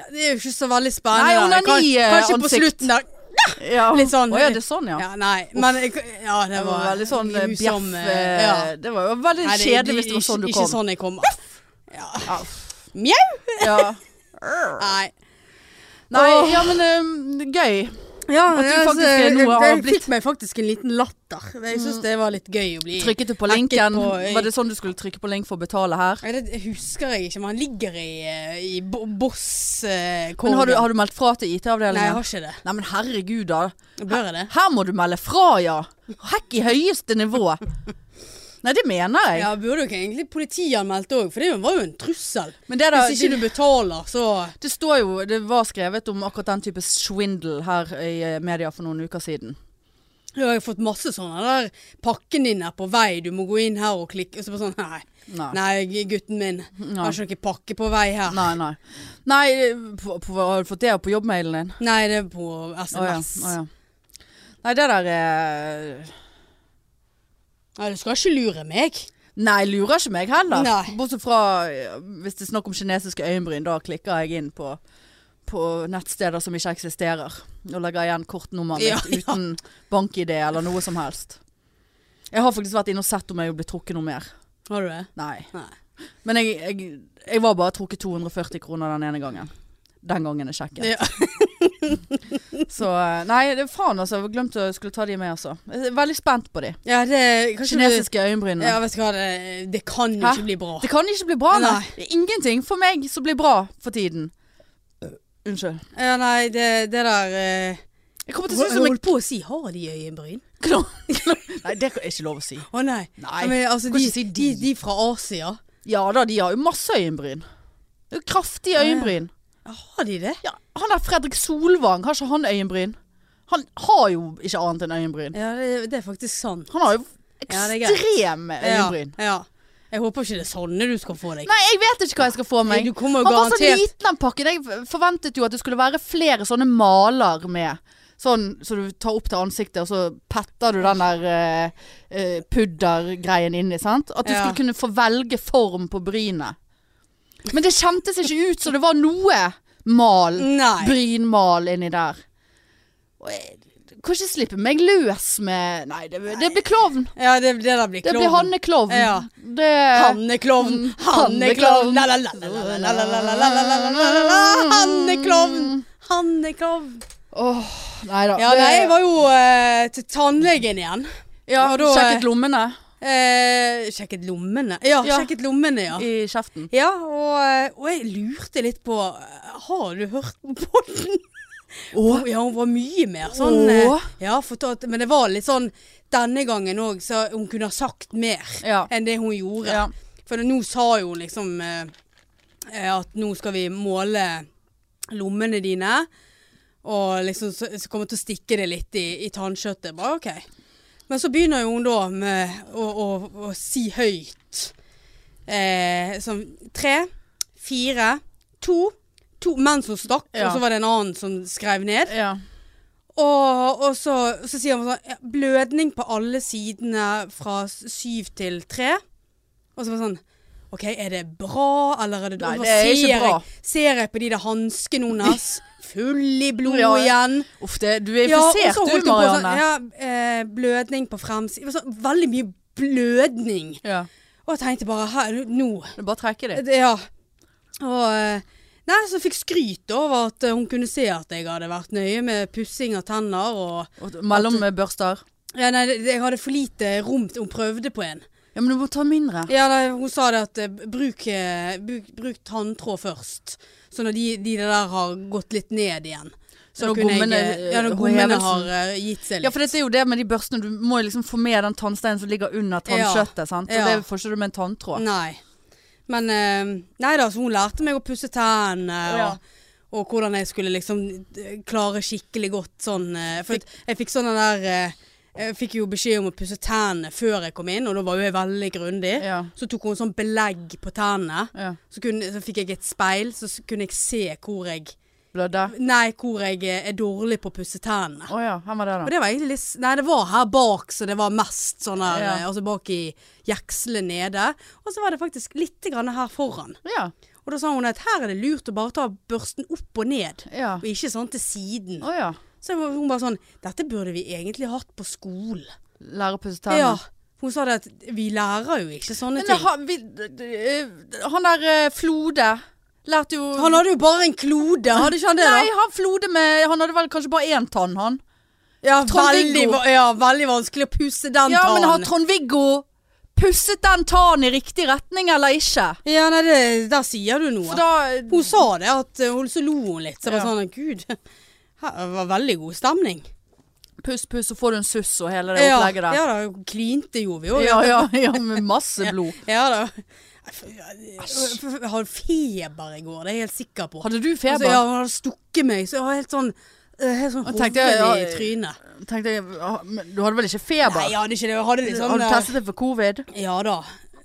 [SPEAKER 2] Ja, det er jo ikke så
[SPEAKER 1] Nei,
[SPEAKER 2] veldig spennende. da.
[SPEAKER 1] onani,
[SPEAKER 2] Kan-
[SPEAKER 1] eh,
[SPEAKER 2] Kanskje på
[SPEAKER 1] ansikt.
[SPEAKER 2] slutten der
[SPEAKER 1] Ja.
[SPEAKER 2] Litt sånn-
[SPEAKER 1] Å ja, det er sånn, ja.
[SPEAKER 2] Ja, nei, men jeg- Ja, det
[SPEAKER 1] Det
[SPEAKER 2] var
[SPEAKER 1] var veldig sånn eh, bjeff
[SPEAKER 2] grusom, eh,
[SPEAKER 1] eh,
[SPEAKER 2] ja.
[SPEAKER 1] Det var jo veldig
[SPEAKER 2] Nei,
[SPEAKER 1] kjedelig hvis det var
[SPEAKER 2] ikke-
[SPEAKER 1] sånn du
[SPEAKER 2] Ikke
[SPEAKER 1] kom.
[SPEAKER 2] sånn jeg kom. [laughs]
[SPEAKER 1] Ja.
[SPEAKER 2] Mjau!
[SPEAKER 1] Ja.
[SPEAKER 2] Nei.
[SPEAKER 1] Nei,
[SPEAKER 2] Åh.
[SPEAKER 1] ja, men
[SPEAKER 2] um,
[SPEAKER 1] eh, gøy.
[SPEAKER 2] Ja,
[SPEAKER 1] At du faktisk er noe
[SPEAKER 2] jeg,
[SPEAKER 1] har
[SPEAKER 2] jeg
[SPEAKER 1] blitt.
[SPEAKER 2] fikk meg faktisk en liten latter. Jeg syns det var litt gøy å bli
[SPEAKER 1] Trykket du på
[SPEAKER 2] Hacket
[SPEAKER 1] linken?
[SPEAKER 2] Mm. på- eh,
[SPEAKER 1] Var det sånn du skulle trykke på link for å betale her?
[SPEAKER 2] Nei, det husker jeg ikke, men han ligger i, eh, i bo- boss eh,
[SPEAKER 1] Men har du,
[SPEAKER 2] korgen.
[SPEAKER 1] har du meldt fra til
[SPEAKER 2] Nei, jeg
[SPEAKER 1] IT-avdelingen?
[SPEAKER 2] har ikke det.
[SPEAKER 1] Nei, men herregud da.
[SPEAKER 2] Bør jeg det?
[SPEAKER 1] Her må du melde fra, ja. Hekk i høyeste nivå. Nei, det mener jeg.
[SPEAKER 2] Ja, burde jo ikke egentlig politianmeldt òg, for det var jo en trussel.
[SPEAKER 1] Men det, da,
[SPEAKER 2] Hvis ikke
[SPEAKER 1] det,
[SPEAKER 2] du betaler, så
[SPEAKER 1] det står jo Det var skrevet om akkurat den type svindel her i eh, media for noen uker siden.
[SPEAKER 2] Ja, Jeg har fått masse sånne der pakken din er på vei, du må gå inn her og klikke. Og så bare sånn, nei.
[SPEAKER 1] Nei.
[SPEAKER 2] Nei, g- gutten min.
[SPEAKER 1] Nei.
[SPEAKER 2] Har ikke noen pakke på vei her. Nei,
[SPEAKER 1] Nei, nei. Nei, eh, på, på, har du fått det på jobbmailen din?
[SPEAKER 2] det er
[SPEAKER 1] Å
[SPEAKER 2] på
[SPEAKER 1] ja,
[SPEAKER 2] SMS.
[SPEAKER 1] å ja. Nei, det der er
[SPEAKER 2] Nei, du skal ikke lure meg.
[SPEAKER 1] Nei, lurer ikke meg heller.
[SPEAKER 2] Nei.
[SPEAKER 1] Bortsett fra eh, hvis det er snakk om kinesiske øyenbryn, da klikker jeg inn på, på nettsteder som ikke eksisterer. Og legger igjen kortnummeret
[SPEAKER 2] Ja,
[SPEAKER 1] mitt uten bank-ID eller noe som helst. Jeg har faktisk vært inne og sett om jeg blir trukket noe mer.
[SPEAKER 2] Har du det?
[SPEAKER 1] Nei.
[SPEAKER 2] Nei.
[SPEAKER 1] Men jeg, jeg, jeg var bare trukket 240 kroner den ene gangen. Den gangen jeg sjekket.
[SPEAKER 2] Ja.
[SPEAKER 1] [laughs] Så eh, nei, det er faen altså. Jeg glemte å skulle ta de med, altså. Jeg er veldig spent på de.
[SPEAKER 2] Ja, det kanskje du,
[SPEAKER 1] Kinesiske øyenbrynene.
[SPEAKER 2] Ja, vet du hva, det, det kan jo
[SPEAKER 1] Hæ?
[SPEAKER 2] ikke bli bra.
[SPEAKER 1] Det kan ikke bli bra, nei.
[SPEAKER 2] Nei.
[SPEAKER 1] Det er ingenting for meg som blir bra for tiden.
[SPEAKER 2] Uh,
[SPEAKER 1] Unnskyld.
[SPEAKER 2] Ja, nei, det, det der eh,
[SPEAKER 1] Jeg kommer til å
[SPEAKER 2] Jeg
[SPEAKER 1] synes som jeg
[SPEAKER 2] holdt på å si 'har de øyenbryn'? [laughs]
[SPEAKER 1] Nei, det er ikke lov å si.
[SPEAKER 2] Å nei.
[SPEAKER 1] Nei,
[SPEAKER 2] Ja, Men, altså,
[SPEAKER 1] kan
[SPEAKER 2] de,
[SPEAKER 1] ikke si
[SPEAKER 2] de.
[SPEAKER 1] de.
[SPEAKER 2] de fra Asia,
[SPEAKER 1] Ja da, de har jo masse øyenbryn. Det er jo Kraftige
[SPEAKER 2] Ja, ja.
[SPEAKER 1] øyenbryn.
[SPEAKER 2] ja, har de det?
[SPEAKER 1] Ja, han der Fredrik Solvang, har ikke han øyenbryn? Han har jo ikke annet enn øyenbryn.
[SPEAKER 2] Ja, det, det er faktisk sant.
[SPEAKER 1] Han har jo
[SPEAKER 2] Ja, det er greit.
[SPEAKER 1] ekstreme øyenbryn.
[SPEAKER 2] Ja, ja. Jeg håper ikke det er sånne du skal få deg.
[SPEAKER 1] Nei, jeg vet ikke hva jeg skal få meg.
[SPEAKER 2] Du kommer jo
[SPEAKER 1] Han var så
[SPEAKER 2] garantert
[SPEAKER 1] liten den pakken. Jeg f- forventet jo at det skulle være flere sånne maler med. Sånn så du tar opp til ansiktet, og så petter du den der eh, eh, puddergreien inni. sant? At du
[SPEAKER 2] Ja.
[SPEAKER 1] skulle kunne få velge form på brynet. Men det kjentes ikke ut som det var noe mal.
[SPEAKER 2] Mm. Nei.
[SPEAKER 1] Brynmal inni der. Og jeg, du kan ikke slippe meg løs med Nei, det, det blir klovn.
[SPEAKER 2] Ja, det, det der blir
[SPEAKER 1] Det
[SPEAKER 2] klovn.
[SPEAKER 1] blir hanneklovn. Eh, mm,
[SPEAKER 2] Ja.
[SPEAKER 1] Det
[SPEAKER 2] Hanneklovn, hanneklovn, la la la la la la la la la la la la la la la Hanneklovn, hanneklovn.
[SPEAKER 1] Åh, nei da.
[SPEAKER 2] Ja,
[SPEAKER 1] Det-
[SPEAKER 2] nei, jeg var jo eh, til tannlegen igjen.
[SPEAKER 1] Ja,
[SPEAKER 2] Og da,
[SPEAKER 1] sjekket lommene
[SPEAKER 2] Eh, sjekket lommene. Ja,
[SPEAKER 1] Ja.
[SPEAKER 2] sjekket lommene, ja.
[SPEAKER 1] i kjeften.
[SPEAKER 2] Ja, og, eh, og jeg lurte litt på eh, Har du hørt på podden?
[SPEAKER 1] Åh.
[SPEAKER 2] Ja, hun var mye mer sånn eh,
[SPEAKER 1] Åh.
[SPEAKER 2] Ja, fortalt, men det var litt sånn denne gangen òg, så hun kunne ha sagt mer
[SPEAKER 1] Ja.
[SPEAKER 2] enn det hun gjorde.
[SPEAKER 1] Ja.
[SPEAKER 2] For nå sa jo hun liksom eh, eh, at nå skal vi måle lommene dine, og liksom så, så kommer hun til å stikke det litt i, i tannkjøttet. Bare OK. Men så begynner jo hun da med å, å, å si høyt eh, sånn tre, fire, to, to mens hun stakk,
[SPEAKER 1] Ja.
[SPEAKER 2] og så var det en annen som skrev ned.
[SPEAKER 1] Ja.
[SPEAKER 2] Og, og så, så sier han sånn ja, Blødning på alle sidene fra s- syv til tre. Og så var det sånn OK, er det bra, eller er det
[SPEAKER 1] Nei,
[SPEAKER 2] Og så
[SPEAKER 1] det er ikke
[SPEAKER 2] ser
[SPEAKER 1] bra.
[SPEAKER 2] Jeg, ser jeg på de der hanskene hennes,
[SPEAKER 1] [laughs]
[SPEAKER 2] full i blod
[SPEAKER 1] Ja, ja.
[SPEAKER 2] igjen.
[SPEAKER 1] Uff, det, du er
[SPEAKER 2] Ja, og så
[SPEAKER 1] infisert
[SPEAKER 2] holdt
[SPEAKER 1] du,
[SPEAKER 2] hun på sånn
[SPEAKER 1] Marianne.
[SPEAKER 2] ja, eh, Blødning på fremsiden. Sånn, veldig mye blødning.
[SPEAKER 1] ja.
[SPEAKER 2] Og jeg tenkte bare her, Nå
[SPEAKER 1] Det er bare å trekke det.
[SPEAKER 2] det- Ja. Og eh, Nei, så jeg fikk skryt over at eh, hun kunne se at jeg hadde vært nøye med pussing av tenner og
[SPEAKER 1] Og Mellombørster.
[SPEAKER 2] ja, nei, det- jeg hadde for lite rom til hun prøvde på en.
[SPEAKER 1] Ja, men du må ta mindre.
[SPEAKER 2] Ja, nei, Hun sa det at eh, bruk, eh, bruk, bruk tanntråd først. Så når de, de der har gått litt ned igjen. Så
[SPEAKER 1] Når
[SPEAKER 2] kunne jeg,
[SPEAKER 1] gommene,
[SPEAKER 2] eh, ja, når
[SPEAKER 1] eh,
[SPEAKER 2] gommene
[SPEAKER 1] hevelsen-
[SPEAKER 2] har eh, gitt seg
[SPEAKER 1] Ja,
[SPEAKER 2] litt.
[SPEAKER 1] for dette er jo det med de børstene. Du må jo liksom få med den tannsteinen som ligger under tannkjøttet. sant? Og
[SPEAKER 2] Ja.
[SPEAKER 1] det får ikke du med en tanntråd.
[SPEAKER 2] Nei. Men eh, Nei da, så hun lærte meg å pusse tennene.
[SPEAKER 1] Ja.
[SPEAKER 2] Og, og hvordan jeg skulle liksom eh, klare skikkelig godt sånn eh, For at jeg fikk sånn den der eh, Jeg fikk jo beskjed om å pusse tennene før jeg kom inn, og da var jo jeg veldig grundig.
[SPEAKER 1] Ja.
[SPEAKER 2] Så tok hun sånn belegg på tennene.
[SPEAKER 1] ja.
[SPEAKER 2] Så, kunne, så fikk jeg et speil, så s- kunne jeg se hvor jeg
[SPEAKER 1] Blødde.
[SPEAKER 2] Nei, hvor jeg eh, er dårlig på å pusse tennene.
[SPEAKER 1] Å ja, her var det,
[SPEAKER 2] Og
[SPEAKER 1] da.
[SPEAKER 2] det var egentlig litt s- Nei, det var her bak, så det var mest sånn her
[SPEAKER 1] Ja.
[SPEAKER 2] eh, Altså bak i jekselet nede. Og så var det faktisk litt grann her foran.
[SPEAKER 1] Ja.
[SPEAKER 2] Og da sa hun at her er det lurt å bare ta børsten opp og ned.
[SPEAKER 1] ja.
[SPEAKER 2] Og ikke sånn til siden.
[SPEAKER 1] Å ja.
[SPEAKER 2] Så jeg var- hun bare sånn Dette burde vi egentlig hatt på skolen.
[SPEAKER 1] Lære å pusse
[SPEAKER 2] Ja.
[SPEAKER 1] tennene.
[SPEAKER 2] Hun sa det at vi lærer jo ikke
[SPEAKER 1] Men
[SPEAKER 2] sånne ting.
[SPEAKER 1] han, vi, eh, han der eh, Flode lærte jo
[SPEAKER 2] Han hadde jo bare en klode, hadde ikke han det? da?
[SPEAKER 1] Nei, han Flode med Han hadde vel kanskje bare én tann, han.
[SPEAKER 2] Ja, veldig,
[SPEAKER 1] Trond-Viggo.
[SPEAKER 2] va- ja, veldig vanskelig å pusse den
[SPEAKER 1] Ja, men har
[SPEAKER 2] tannen.
[SPEAKER 1] Trond-Viggo pusset den tannen i riktig retning eller ikke?
[SPEAKER 2] Ja, nei, det, der sier du noe.
[SPEAKER 1] For da
[SPEAKER 2] Hun sa det, at eh, hun så lo hun litt. Så det
[SPEAKER 1] Ja.
[SPEAKER 2] var sånn, gud, [laughs] her var veldig god stemning.
[SPEAKER 1] Puss, puss, så får du en suss og hele det
[SPEAKER 2] ja,
[SPEAKER 1] opplegget der.
[SPEAKER 2] ja da, klinte gjorde vi jo.
[SPEAKER 1] Ja, ja, [laughs] ja, med masse blod.
[SPEAKER 2] Ja da. Jeg f- jeg hadde feber i går, det er jeg helt sikker på.
[SPEAKER 1] Hadde du
[SPEAKER 2] Altså, ja,
[SPEAKER 1] feber?
[SPEAKER 2] hun hadde stukket meg, så jeg var helt sånn eh, helt sånn
[SPEAKER 1] Og
[SPEAKER 2] hoven
[SPEAKER 1] tenkte jeg, ja,
[SPEAKER 2] i trynet.
[SPEAKER 1] Tenkte jeg, ah, men Du hadde vel ikke feber?
[SPEAKER 2] Nei, jeg hadde ikke det. Jeg hadde liksom
[SPEAKER 1] Har du
[SPEAKER 2] eh,
[SPEAKER 1] testet det sånn, for covid?
[SPEAKER 2] Ja da.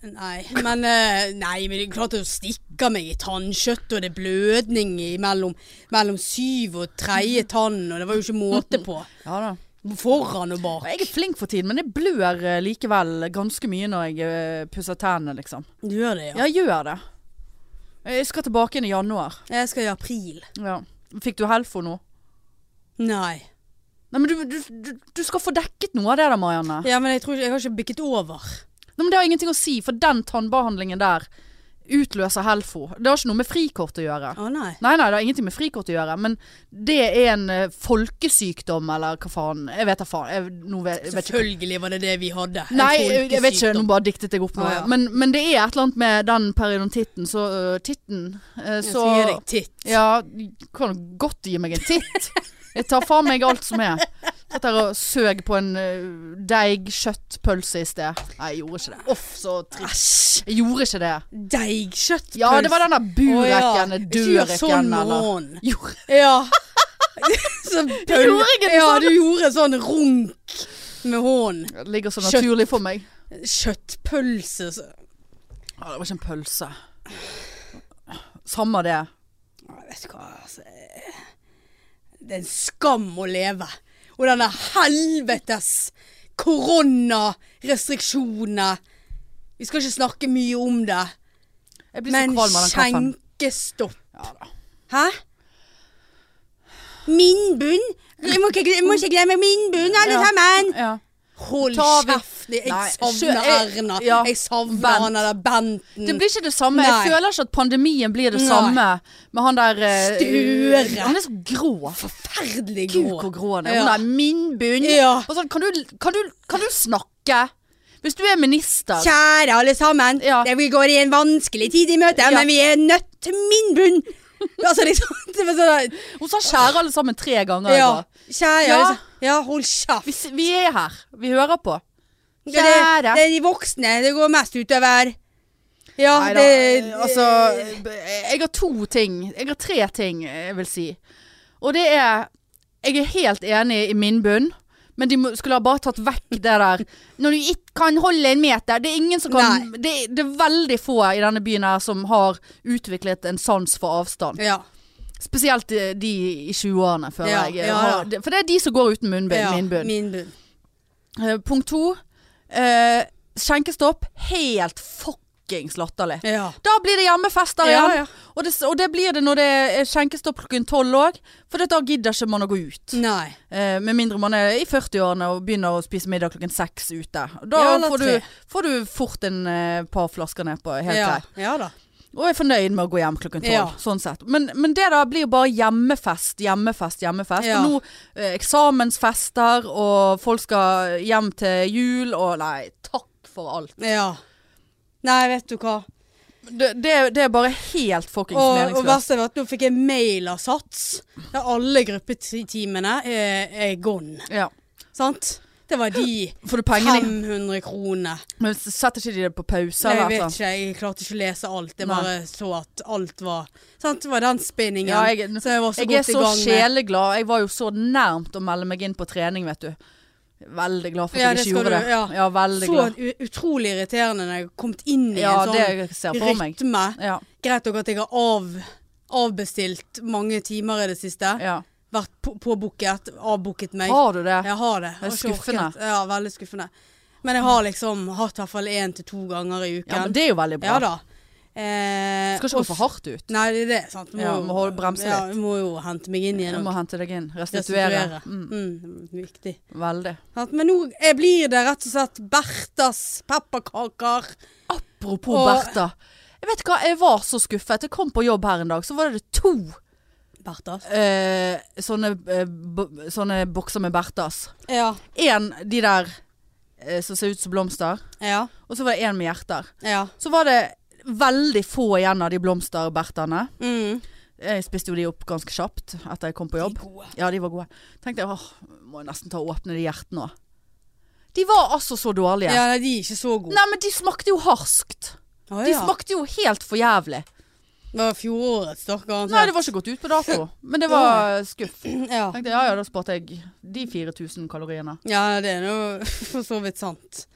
[SPEAKER 2] Nei, men eh, Nei, men det er klart det stikker meg i tannkjøttet, og det er blødning i mellom, mellom syv og tredje tann, og det var jo ikke måte på.
[SPEAKER 1] Ja da.
[SPEAKER 2] Foran og
[SPEAKER 1] Og
[SPEAKER 2] bak.
[SPEAKER 1] Jeg er flink for tiden, men jeg blør eh, likevel ganske mye når jeg eh, pusser tennene, liksom.
[SPEAKER 2] Du gjør det, ja.
[SPEAKER 1] Ja, jeg gjør det. Jeg skal tilbake inn i januar.
[SPEAKER 2] Jeg skal i april.
[SPEAKER 1] Ja. Fikk du Helfo nå?
[SPEAKER 2] Nei.
[SPEAKER 1] Nei, men du, du, du, du skal få dekket noe av det da, Marianne.
[SPEAKER 2] Ja, men jeg tror ikke Jeg har ikke bikket over.
[SPEAKER 1] Nei, men det har ingenting å si, for den tannbehandlingen der utløser Helfo. Det har ikke noe med frikort å gjøre.
[SPEAKER 2] Å nei.
[SPEAKER 1] Nei, nei, det har ingenting med frikort å gjøre, men det er en eh, folkesykdom, eller hva faen. Jeg vet da faen. Jeg, nå vet, jeg vet ikke.
[SPEAKER 2] Selvfølgelig var det det vi hadde. En
[SPEAKER 1] Nei, jeg, jeg vet ikke,
[SPEAKER 2] folkesykdom.
[SPEAKER 1] nå bare diktet jeg opp noe.
[SPEAKER 2] Ah, ja.
[SPEAKER 1] Men, men det er et eller annet med den periodontitten, så øh, Titten. øh,
[SPEAKER 2] Jeg
[SPEAKER 1] så
[SPEAKER 2] sier deg titt.
[SPEAKER 1] Ja, du kan godt gi meg en titt. Jeg tar faen meg alt som er. Satt der og søg på en øh, deig kjøttpølse i sted. Nei, jeg gjorde ikke det. Uff, så trist.
[SPEAKER 2] Æsj.
[SPEAKER 1] Jeg gjorde ikke det.
[SPEAKER 2] Deigkjøttpølse.
[SPEAKER 1] Ja, det var den der burekken,
[SPEAKER 2] Ikke gjør
[SPEAKER 1] dørekken,
[SPEAKER 2] sånn med
[SPEAKER 1] eller
[SPEAKER 2] hånden.
[SPEAKER 1] Gjorde-
[SPEAKER 2] Ja. [laughs] så pøl-
[SPEAKER 1] Gjorde jeg det
[SPEAKER 2] ja,
[SPEAKER 1] sånn?
[SPEAKER 2] du gjorde sånn runk med hånden.
[SPEAKER 1] Det ligger så
[SPEAKER 2] Kjøtt.
[SPEAKER 1] naturlig for meg.
[SPEAKER 2] Kjøttpølse. så-
[SPEAKER 1] Å, det var ikke en pølse. Samme det.
[SPEAKER 2] Å, Vet du hva, altså. eh, Det er en skam å leve. Og denne helvetes koronarestriksjonene. Vi skal ikke snakke mye om det,
[SPEAKER 1] Jeg blir så
[SPEAKER 2] men
[SPEAKER 1] kvalm av den kaffen.
[SPEAKER 2] skjenkestopp.
[SPEAKER 1] Ja da.
[SPEAKER 2] Hæ? Min bunn? Jeg må ikke, jeg må ikke glemme min bunn, alle
[SPEAKER 1] Ja.
[SPEAKER 2] sammen!
[SPEAKER 1] Ja.
[SPEAKER 2] Hold
[SPEAKER 1] Ta vi-
[SPEAKER 2] kjeft! Jeg
[SPEAKER 1] Nei,
[SPEAKER 2] savner
[SPEAKER 1] sjø- jeg-
[SPEAKER 2] Erna.
[SPEAKER 1] ja,
[SPEAKER 2] jeg savner
[SPEAKER 1] Bent.
[SPEAKER 2] han der Benten.
[SPEAKER 1] Det blir ikke det samme.
[SPEAKER 2] Nei.
[SPEAKER 1] Jeg føler ikke at pandemien blir det
[SPEAKER 2] Nei.
[SPEAKER 1] samme med han der eh,
[SPEAKER 2] Støre.
[SPEAKER 1] Han er så grå.
[SPEAKER 2] forferdelig
[SPEAKER 1] Gud,
[SPEAKER 2] grå.
[SPEAKER 1] hvor grå han er.
[SPEAKER 2] Ja.
[SPEAKER 1] Hun er min bunn.
[SPEAKER 2] Ja.
[SPEAKER 1] Og sånn, kan, du, kan, du, kan du snakke? Hvis du er minister
[SPEAKER 2] Kjære alle sammen.
[SPEAKER 1] Ja.
[SPEAKER 2] Det- Vi går i en vanskelig tid i møte,
[SPEAKER 1] Ja.
[SPEAKER 2] men vi er nødt til min bunn. altså, liksom, [laughs] det var sånn der,
[SPEAKER 1] Hun sa 'kjære alle sammen' tre ganger. i
[SPEAKER 2] ja,
[SPEAKER 1] går.
[SPEAKER 2] kjære,
[SPEAKER 1] Ja.
[SPEAKER 2] altså. ja, hold kjeft.
[SPEAKER 1] Vi, s- vi er her. Vi hører på.
[SPEAKER 2] Det, det,
[SPEAKER 1] Kjære.
[SPEAKER 2] det er de voksne det går mest utover. Ja,
[SPEAKER 1] Nei da,
[SPEAKER 2] det
[SPEAKER 1] eh, altså Jeg har to ting Jeg har tre ting jeg vil si. Og det er Jeg er helt enig i min bunn, men de må- skulle ha bare tatt vekk det der Når du ikke kan holde en meter Det er ingen som kan det, det er veldig få i denne byen her som har utviklet en sans for avstand.
[SPEAKER 2] Ja.
[SPEAKER 1] Spesielt eh, de i 20-årene, føler
[SPEAKER 2] Ja,
[SPEAKER 1] jeg. eh,
[SPEAKER 2] ja,
[SPEAKER 1] har- For det er de som går uten munnbind.
[SPEAKER 2] ja,
[SPEAKER 1] min bunn.
[SPEAKER 2] Min bunn.
[SPEAKER 1] Eh, punkt to. eh, skjenkestopp. Helt fuckings latterlig.
[SPEAKER 2] Ja.
[SPEAKER 1] Da blir det hjemmefester
[SPEAKER 2] Ja,
[SPEAKER 1] igjen. Og, det, og det blir det når det er skjenkestopp klokken tolv òg. For da gidder ikke man å gå ut.
[SPEAKER 2] Nei.
[SPEAKER 1] Eh, med mindre man er i 40-årene og begynner å spise middag klokken seks ute. Da
[SPEAKER 2] Ja, eller
[SPEAKER 1] får,
[SPEAKER 2] tre.
[SPEAKER 1] du, får du fort en eh, par flasker nedpå. Helt
[SPEAKER 2] ja.
[SPEAKER 1] greit.
[SPEAKER 2] ja da.
[SPEAKER 1] Og er fornøyd med å gå hjem klokken tolv.
[SPEAKER 2] Ja.
[SPEAKER 1] Sånn sett. Men, men det da blir jo bare hjemmefest, hjemmefest, hjemmefest.
[SPEAKER 2] Ja.
[SPEAKER 1] Og nå eh, eksamensfester, og folk skal hjem til jul, og nei, takk for alt.
[SPEAKER 2] Ja. Nei, vet du hva.
[SPEAKER 1] Det, det, det er bare helt fuckings
[SPEAKER 2] Og, og
[SPEAKER 1] meningsløst.
[SPEAKER 2] verst er at nå fikk jeg mail av Sats. Der alle gruppetimene er, er gone.
[SPEAKER 1] Ja.
[SPEAKER 2] Sant? Det var de
[SPEAKER 1] Får du pengene i
[SPEAKER 2] 500 kronene.
[SPEAKER 1] Men setter ikke de det på pause?
[SPEAKER 2] Jeg
[SPEAKER 1] eller et
[SPEAKER 2] vet
[SPEAKER 1] eller annet?
[SPEAKER 2] ikke, jeg klarte ikke å lese alt. Jeg
[SPEAKER 1] Nei.
[SPEAKER 2] bare så at alt var Sant? Det var den spinningen.
[SPEAKER 1] Ja, jeg-
[SPEAKER 2] så jeg var så
[SPEAKER 1] Jeg er
[SPEAKER 2] godt i
[SPEAKER 1] så
[SPEAKER 2] gang med.
[SPEAKER 1] sjeleglad. Jeg var jo så nærmt å melde meg inn på trening, vet du. Veldig glad for at
[SPEAKER 2] Ja,
[SPEAKER 1] jeg
[SPEAKER 2] det
[SPEAKER 1] ikke
[SPEAKER 2] skal
[SPEAKER 1] gjorde
[SPEAKER 2] du-
[SPEAKER 1] det.
[SPEAKER 2] ja.
[SPEAKER 1] veldig
[SPEAKER 2] Så
[SPEAKER 1] glad.
[SPEAKER 2] u- utrolig irriterende når jeg kom inn i
[SPEAKER 1] Ja,
[SPEAKER 2] en
[SPEAKER 1] det
[SPEAKER 2] sånn
[SPEAKER 1] ser jeg for meg.
[SPEAKER 2] rytme.
[SPEAKER 1] Ja,
[SPEAKER 2] Greit nok at jeg har av, avbestilt mange timer i det siste.
[SPEAKER 1] ja.
[SPEAKER 2] Vært på- påbooket, avbooket meg.
[SPEAKER 1] Har du det?
[SPEAKER 2] Jeg har det.
[SPEAKER 1] Det er
[SPEAKER 2] Har ikke orket.
[SPEAKER 1] skuffende.
[SPEAKER 2] Ja, veldig skuffende. Men jeg har liksom hatt i hvert fall én til to ganger i uken.
[SPEAKER 1] Ja, men det er jo veldig bra.
[SPEAKER 2] Ja da. Eh,
[SPEAKER 1] Skal ikke gå for hardt ut.
[SPEAKER 2] Nei, det er det. sant. Du
[SPEAKER 1] Ja,
[SPEAKER 2] jo-
[SPEAKER 1] må holde- bremse
[SPEAKER 2] Ja,
[SPEAKER 1] litt.
[SPEAKER 2] du må jo hente meg inn
[SPEAKER 1] Jeg
[SPEAKER 2] igjen.
[SPEAKER 1] må
[SPEAKER 2] og
[SPEAKER 1] hente deg inn. Restituere.
[SPEAKER 2] Restituere.
[SPEAKER 1] Mm,
[SPEAKER 2] Mm, viktig.
[SPEAKER 1] veldig.
[SPEAKER 2] Sant? Men nå eh, blir det rett og slett Berthas pepperkaker.
[SPEAKER 1] Apropos
[SPEAKER 2] Og-
[SPEAKER 1] Bertha. Jeg vet hva, jeg var så skuffet. Jeg kom på jobb her en dag, så var det to
[SPEAKER 2] Berthas?
[SPEAKER 1] eh, sånne, eh, bo- sånne bokser med Berthas.
[SPEAKER 2] Ja.
[SPEAKER 1] En, de der eh, som ser ut som blomster.
[SPEAKER 2] Ja.
[SPEAKER 1] Og så var det en med hjerter.
[SPEAKER 2] Ja.
[SPEAKER 1] Så var det veldig få igjen av de blomsterbertene.
[SPEAKER 2] Mm.
[SPEAKER 1] Jeg spiste jo de opp ganske kjapt etter jeg kom på jobb.
[SPEAKER 2] Gode.
[SPEAKER 1] Ja, de var gode. Tenkte jeg, åh, må jeg nesten ta og åpne de hjertene òg. De var altså så dårlige.
[SPEAKER 2] Ja, nei, de er ikke så gode.
[SPEAKER 1] Nei, men de smakte jo harskt.
[SPEAKER 2] Å,
[SPEAKER 1] De
[SPEAKER 2] ja.
[SPEAKER 1] smakte jo helt for jævlig.
[SPEAKER 2] Det var fjorårets, da, garantert.
[SPEAKER 1] Nei, det var ikke gått ut på dato. Men det var skuff.
[SPEAKER 2] ja.
[SPEAKER 1] Tenkte, ja ja, da sparte jeg de 4000 kaloriene.
[SPEAKER 2] ja, det er nå [laughs] for så vidt sant.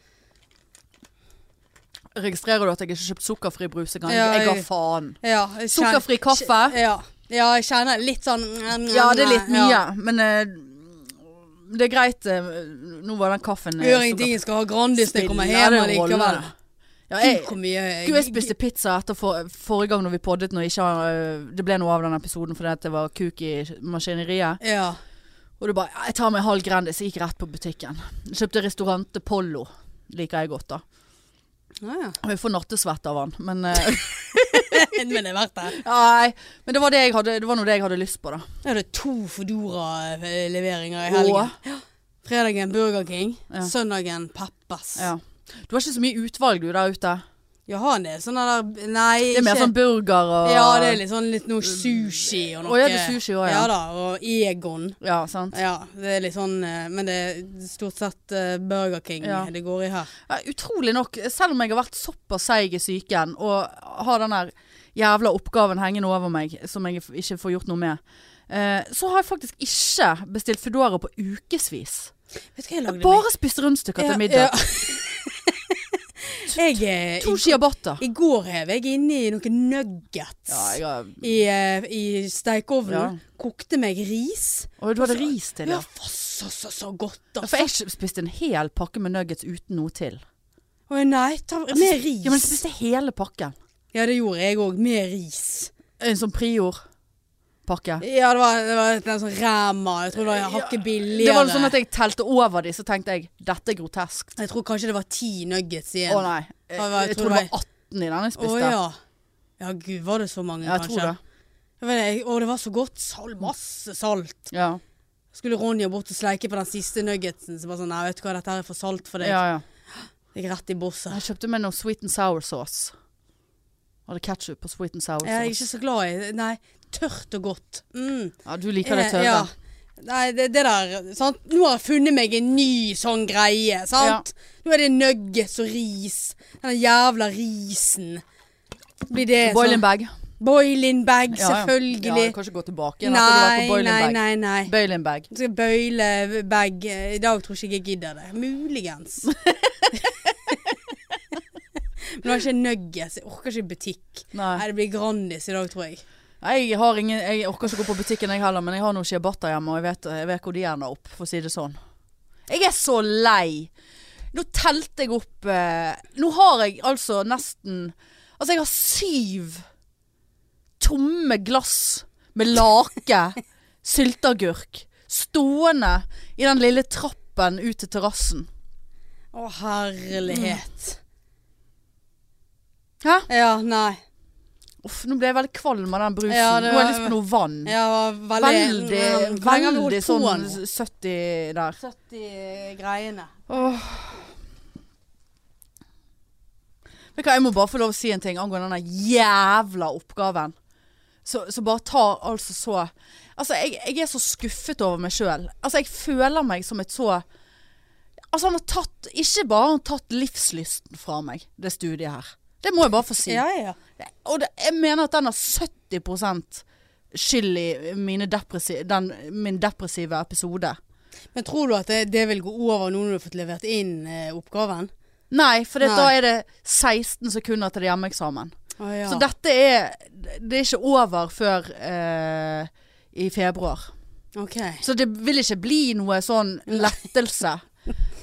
[SPEAKER 1] Registrerer du at jeg ikke har kjøpt sukkerfri brus engang?
[SPEAKER 2] Ja,
[SPEAKER 1] jeg ga
[SPEAKER 2] jeg-
[SPEAKER 1] faen.
[SPEAKER 2] Ja, jeg kjen-
[SPEAKER 1] Sukkerfri kaffe?
[SPEAKER 2] kje- Ja. ja, jeg kjenner litt sånn mm,
[SPEAKER 1] Ja, det er litt mye.
[SPEAKER 2] ja.
[SPEAKER 1] Men eh, det er greit. eh, nå var den kaffen eh,
[SPEAKER 2] Gjør ingenting, jeg skal ha Grandis når jeg kommer
[SPEAKER 1] Spiller
[SPEAKER 2] hjem
[SPEAKER 1] det en rolle?
[SPEAKER 2] allikevel.
[SPEAKER 1] Ja,
[SPEAKER 2] Gud,
[SPEAKER 1] jeg,
[SPEAKER 2] hvor mye jeg-
[SPEAKER 1] Gud, jeg spiste pizza etter for, forrige gang når vi poddet når ikke, øh, det ble noe av den episoden fordi at det var kuk i maskineriet.
[SPEAKER 2] Ja.
[SPEAKER 1] Og du bare «Ja, 'Jeg tar meg en halv Grandis'. Jeg gikk rett på butikken. Kjøpte restaurante Pollo. Liker jeg godt, da. Ah,
[SPEAKER 2] Ja, ja.
[SPEAKER 1] Og jeg får nattesvett av han, men øh,
[SPEAKER 2] [laughs] Men det er verdt
[SPEAKER 1] [laughs]
[SPEAKER 2] det.
[SPEAKER 1] Nei. Men det var, det, jeg hadde, det var nå det jeg hadde lyst på, da.
[SPEAKER 2] Jeg hadde to Foodora-leveringer i helgen.
[SPEAKER 1] Og,
[SPEAKER 2] Fredagen Burger King,
[SPEAKER 1] Ja.
[SPEAKER 2] søndagen Peppers.
[SPEAKER 1] ja. Du har ikke så mye utvalg du der ute.
[SPEAKER 2] Jeg har en del sånne der Nei,
[SPEAKER 1] Det er mer
[SPEAKER 2] ikke-
[SPEAKER 1] sånn burger og
[SPEAKER 2] Ja, det er litt sånn litt noe sushi og noe.
[SPEAKER 1] Å, ja, det er sushi også, ja.
[SPEAKER 2] Ja da, og Egon.
[SPEAKER 1] Ja, sant.
[SPEAKER 2] Ja, det er litt sånn eh, Men det er stort sett eh, Burger King
[SPEAKER 1] Ja.
[SPEAKER 2] det går i her.
[SPEAKER 1] Ja, utrolig nok, selv om jeg har vært såpass seig i psyken og har den der jævla oppgaven hengende over meg som jeg f- ikke får gjort noe med, eh, så har jeg faktisk ikke bestilt Foodora på ukevis.
[SPEAKER 2] Vet du hva jeg lagde
[SPEAKER 1] Bare spist rundstykker til middag.
[SPEAKER 2] Ja. [laughs] jeg eh,
[SPEAKER 1] To
[SPEAKER 2] i,
[SPEAKER 1] ciabatta.
[SPEAKER 2] I går hev jeg inni noen nuggets
[SPEAKER 1] Ja, jeg har...
[SPEAKER 2] i, eh, i stekeovnen.
[SPEAKER 1] Ja.
[SPEAKER 2] Kokte meg ris.
[SPEAKER 1] Og du hadde ris til,
[SPEAKER 2] Altså, Ja,
[SPEAKER 1] ja.
[SPEAKER 2] for så, så, så godt,
[SPEAKER 1] Ja,
[SPEAKER 2] altså.
[SPEAKER 1] For jeg spiste en hel pakke med nuggets uten noe til.
[SPEAKER 2] Å nei, ta med ris.
[SPEAKER 1] Altså, Ja, men jeg spiste hele pakken.
[SPEAKER 2] Ja, det gjorde jeg òg. Med ris.
[SPEAKER 1] En sånn prior-pakke.
[SPEAKER 2] Ja, det var, det var et eller annet sånn ræma. Jeg tror det var hakket billigere.
[SPEAKER 1] Det var sånn at jeg telte over de, så tenkte jeg, dette er grotesk.
[SPEAKER 2] Jeg tror kanskje det var ti nuggets
[SPEAKER 1] Å
[SPEAKER 2] igjen.
[SPEAKER 1] nei. Jeg,
[SPEAKER 2] Ja, Eh, jeg
[SPEAKER 1] jeg
[SPEAKER 2] tror
[SPEAKER 1] tror det
[SPEAKER 2] det
[SPEAKER 1] var 18 i den jeg spiste.
[SPEAKER 2] Å, ja. Ja, gud, var det så mange,
[SPEAKER 1] Ja, jeg
[SPEAKER 2] kanskje?
[SPEAKER 1] tror det.
[SPEAKER 2] Jeg vet ikke, Å, det var så godt. Sal, masse salt.
[SPEAKER 1] Ja.
[SPEAKER 2] Skulle Ronja bort og sleike på den siste nuggetsen, så bare sånn Nei, vet du hva, dette her er for salt for deg.
[SPEAKER 1] ja, ja.
[SPEAKER 2] Gikk rett i bosset.
[SPEAKER 1] Jeg kjøpte meg noe sweet and sour sauce. Hadde ketsjup på sweet and sour
[SPEAKER 2] Jeg er
[SPEAKER 1] sauce.
[SPEAKER 2] ikke så glad i Nei, tørt og godt. Mm.
[SPEAKER 1] Ja, du liker det
[SPEAKER 2] Eh,
[SPEAKER 1] tørre.
[SPEAKER 2] Ja. Nei, det, det der sant? Nå har jeg funnet meg en ny sånn greie, sant? Nå er det nuggets og ris. Den jævla risen. Blir det
[SPEAKER 1] Boiling bag.
[SPEAKER 2] sånn Boiling
[SPEAKER 1] Ja,
[SPEAKER 2] bag,
[SPEAKER 1] ja. Ja,
[SPEAKER 2] selvfølgelig.
[SPEAKER 1] du kan ikke gå tilbake igjen etter du var på
[SPEAKER 2] nei,
[SPEAKER 1] boiling
[SPEAKER 2] nei,
[SPEAKER 1] bag.
[SPEAKER 2] nei, nei.
[SPEAKER 1] Boiling bag.
[SPEAKER 2] Jeg skal bøyle bag. eh, I dag tror ikke jeg gidder det. Muligens.
[SPEAKER 1] [laughs]
[SPEAKER 2] Men det var ikke nuggets. Jeg orker ikke butikk.
[SPEAKER 1] Nei.
[SPEAKER 2] Nei, det blir Grandis i dag, tror jeg.
[SPEAKER 1] Jeg, har ingen, jeg orker ikke gå på butikken jeg heller, men jeg har noen ciabatta hjemme, og jeg vet, jeg vet hvor de ender opp, for å si det sånn. Jeg er så lei. Nå telte jeg opp eh, Nå har jeg altså nesten Altså, jeg har syv tomme glass med
[SPEAKER 2] [laughs]
[SPEAKER 1] lake, sylteagurk, stående i den lille trappen ut til terrassen.
[SPEAKER 2] Å, herlighet.
[SPEAKER 1] Mm. Hæ?
[SPEAKER 2] Ja, nei.
[SPEAKER 1] Uff, nå ble jeg veldig kvalm av den brusen.
[SPEAKER 2] Ja,
[SPEAKER 1] nå
[SPEAKER 2] det
[SPEAKER 1] har
[SPEAKER 2] var-
[SPEAKER 1] jeg lyst på noe vann.
[SPEAKER 2] Ja, veldig
[SPEAKER 1] Veldig,
[SPEAKER 2] Hvor lenge har vi
[SPEAKER 1] veldig
[SPEAKER 2] holdt på
[SPEAKER 1] sånn
[SPEAKER 2] nå?
[SPEAKER 1] 70 der.
[SPEAKER 2] 70 greiene.
[SPEAKER 1] Åh. Vet du hva, jeg må bare få lov å si en ting angående denne jævla oppgaven. Så, så bare tar altså så Altså, jeg, jeg er så skuffet over meg sjøl. Altså, jeg føler meg som et så Altså, han har tatt Ikke bare har han tatt livslysten fra meg, det studiet her. Det må jeg bare få si.
[SPEAKER 2] Ja, ja.
[SPEAKER 1] Og det, jeg mener at den har 70 skyld i mine depressi, den, min depressive episode.
[SPEAKER 2] Men tror du at det, det vil gå over nå når du har fått levert inn eh, oppgaven?
[SPEAKER 1] Nei, for det,
[SPEAKER 2] Nei.
[SPEAKER 1] da er det 16 sekunder til det er hjemmeeksamen.
[SPEAKER 2] Å ja.
[SPEAKER 1] Så dette er Det er ikke over før eh, i februar.
[SPEAKER 2] OK.
[SPEAKER 1] Så det vil ikke bli noe sånn lettelse.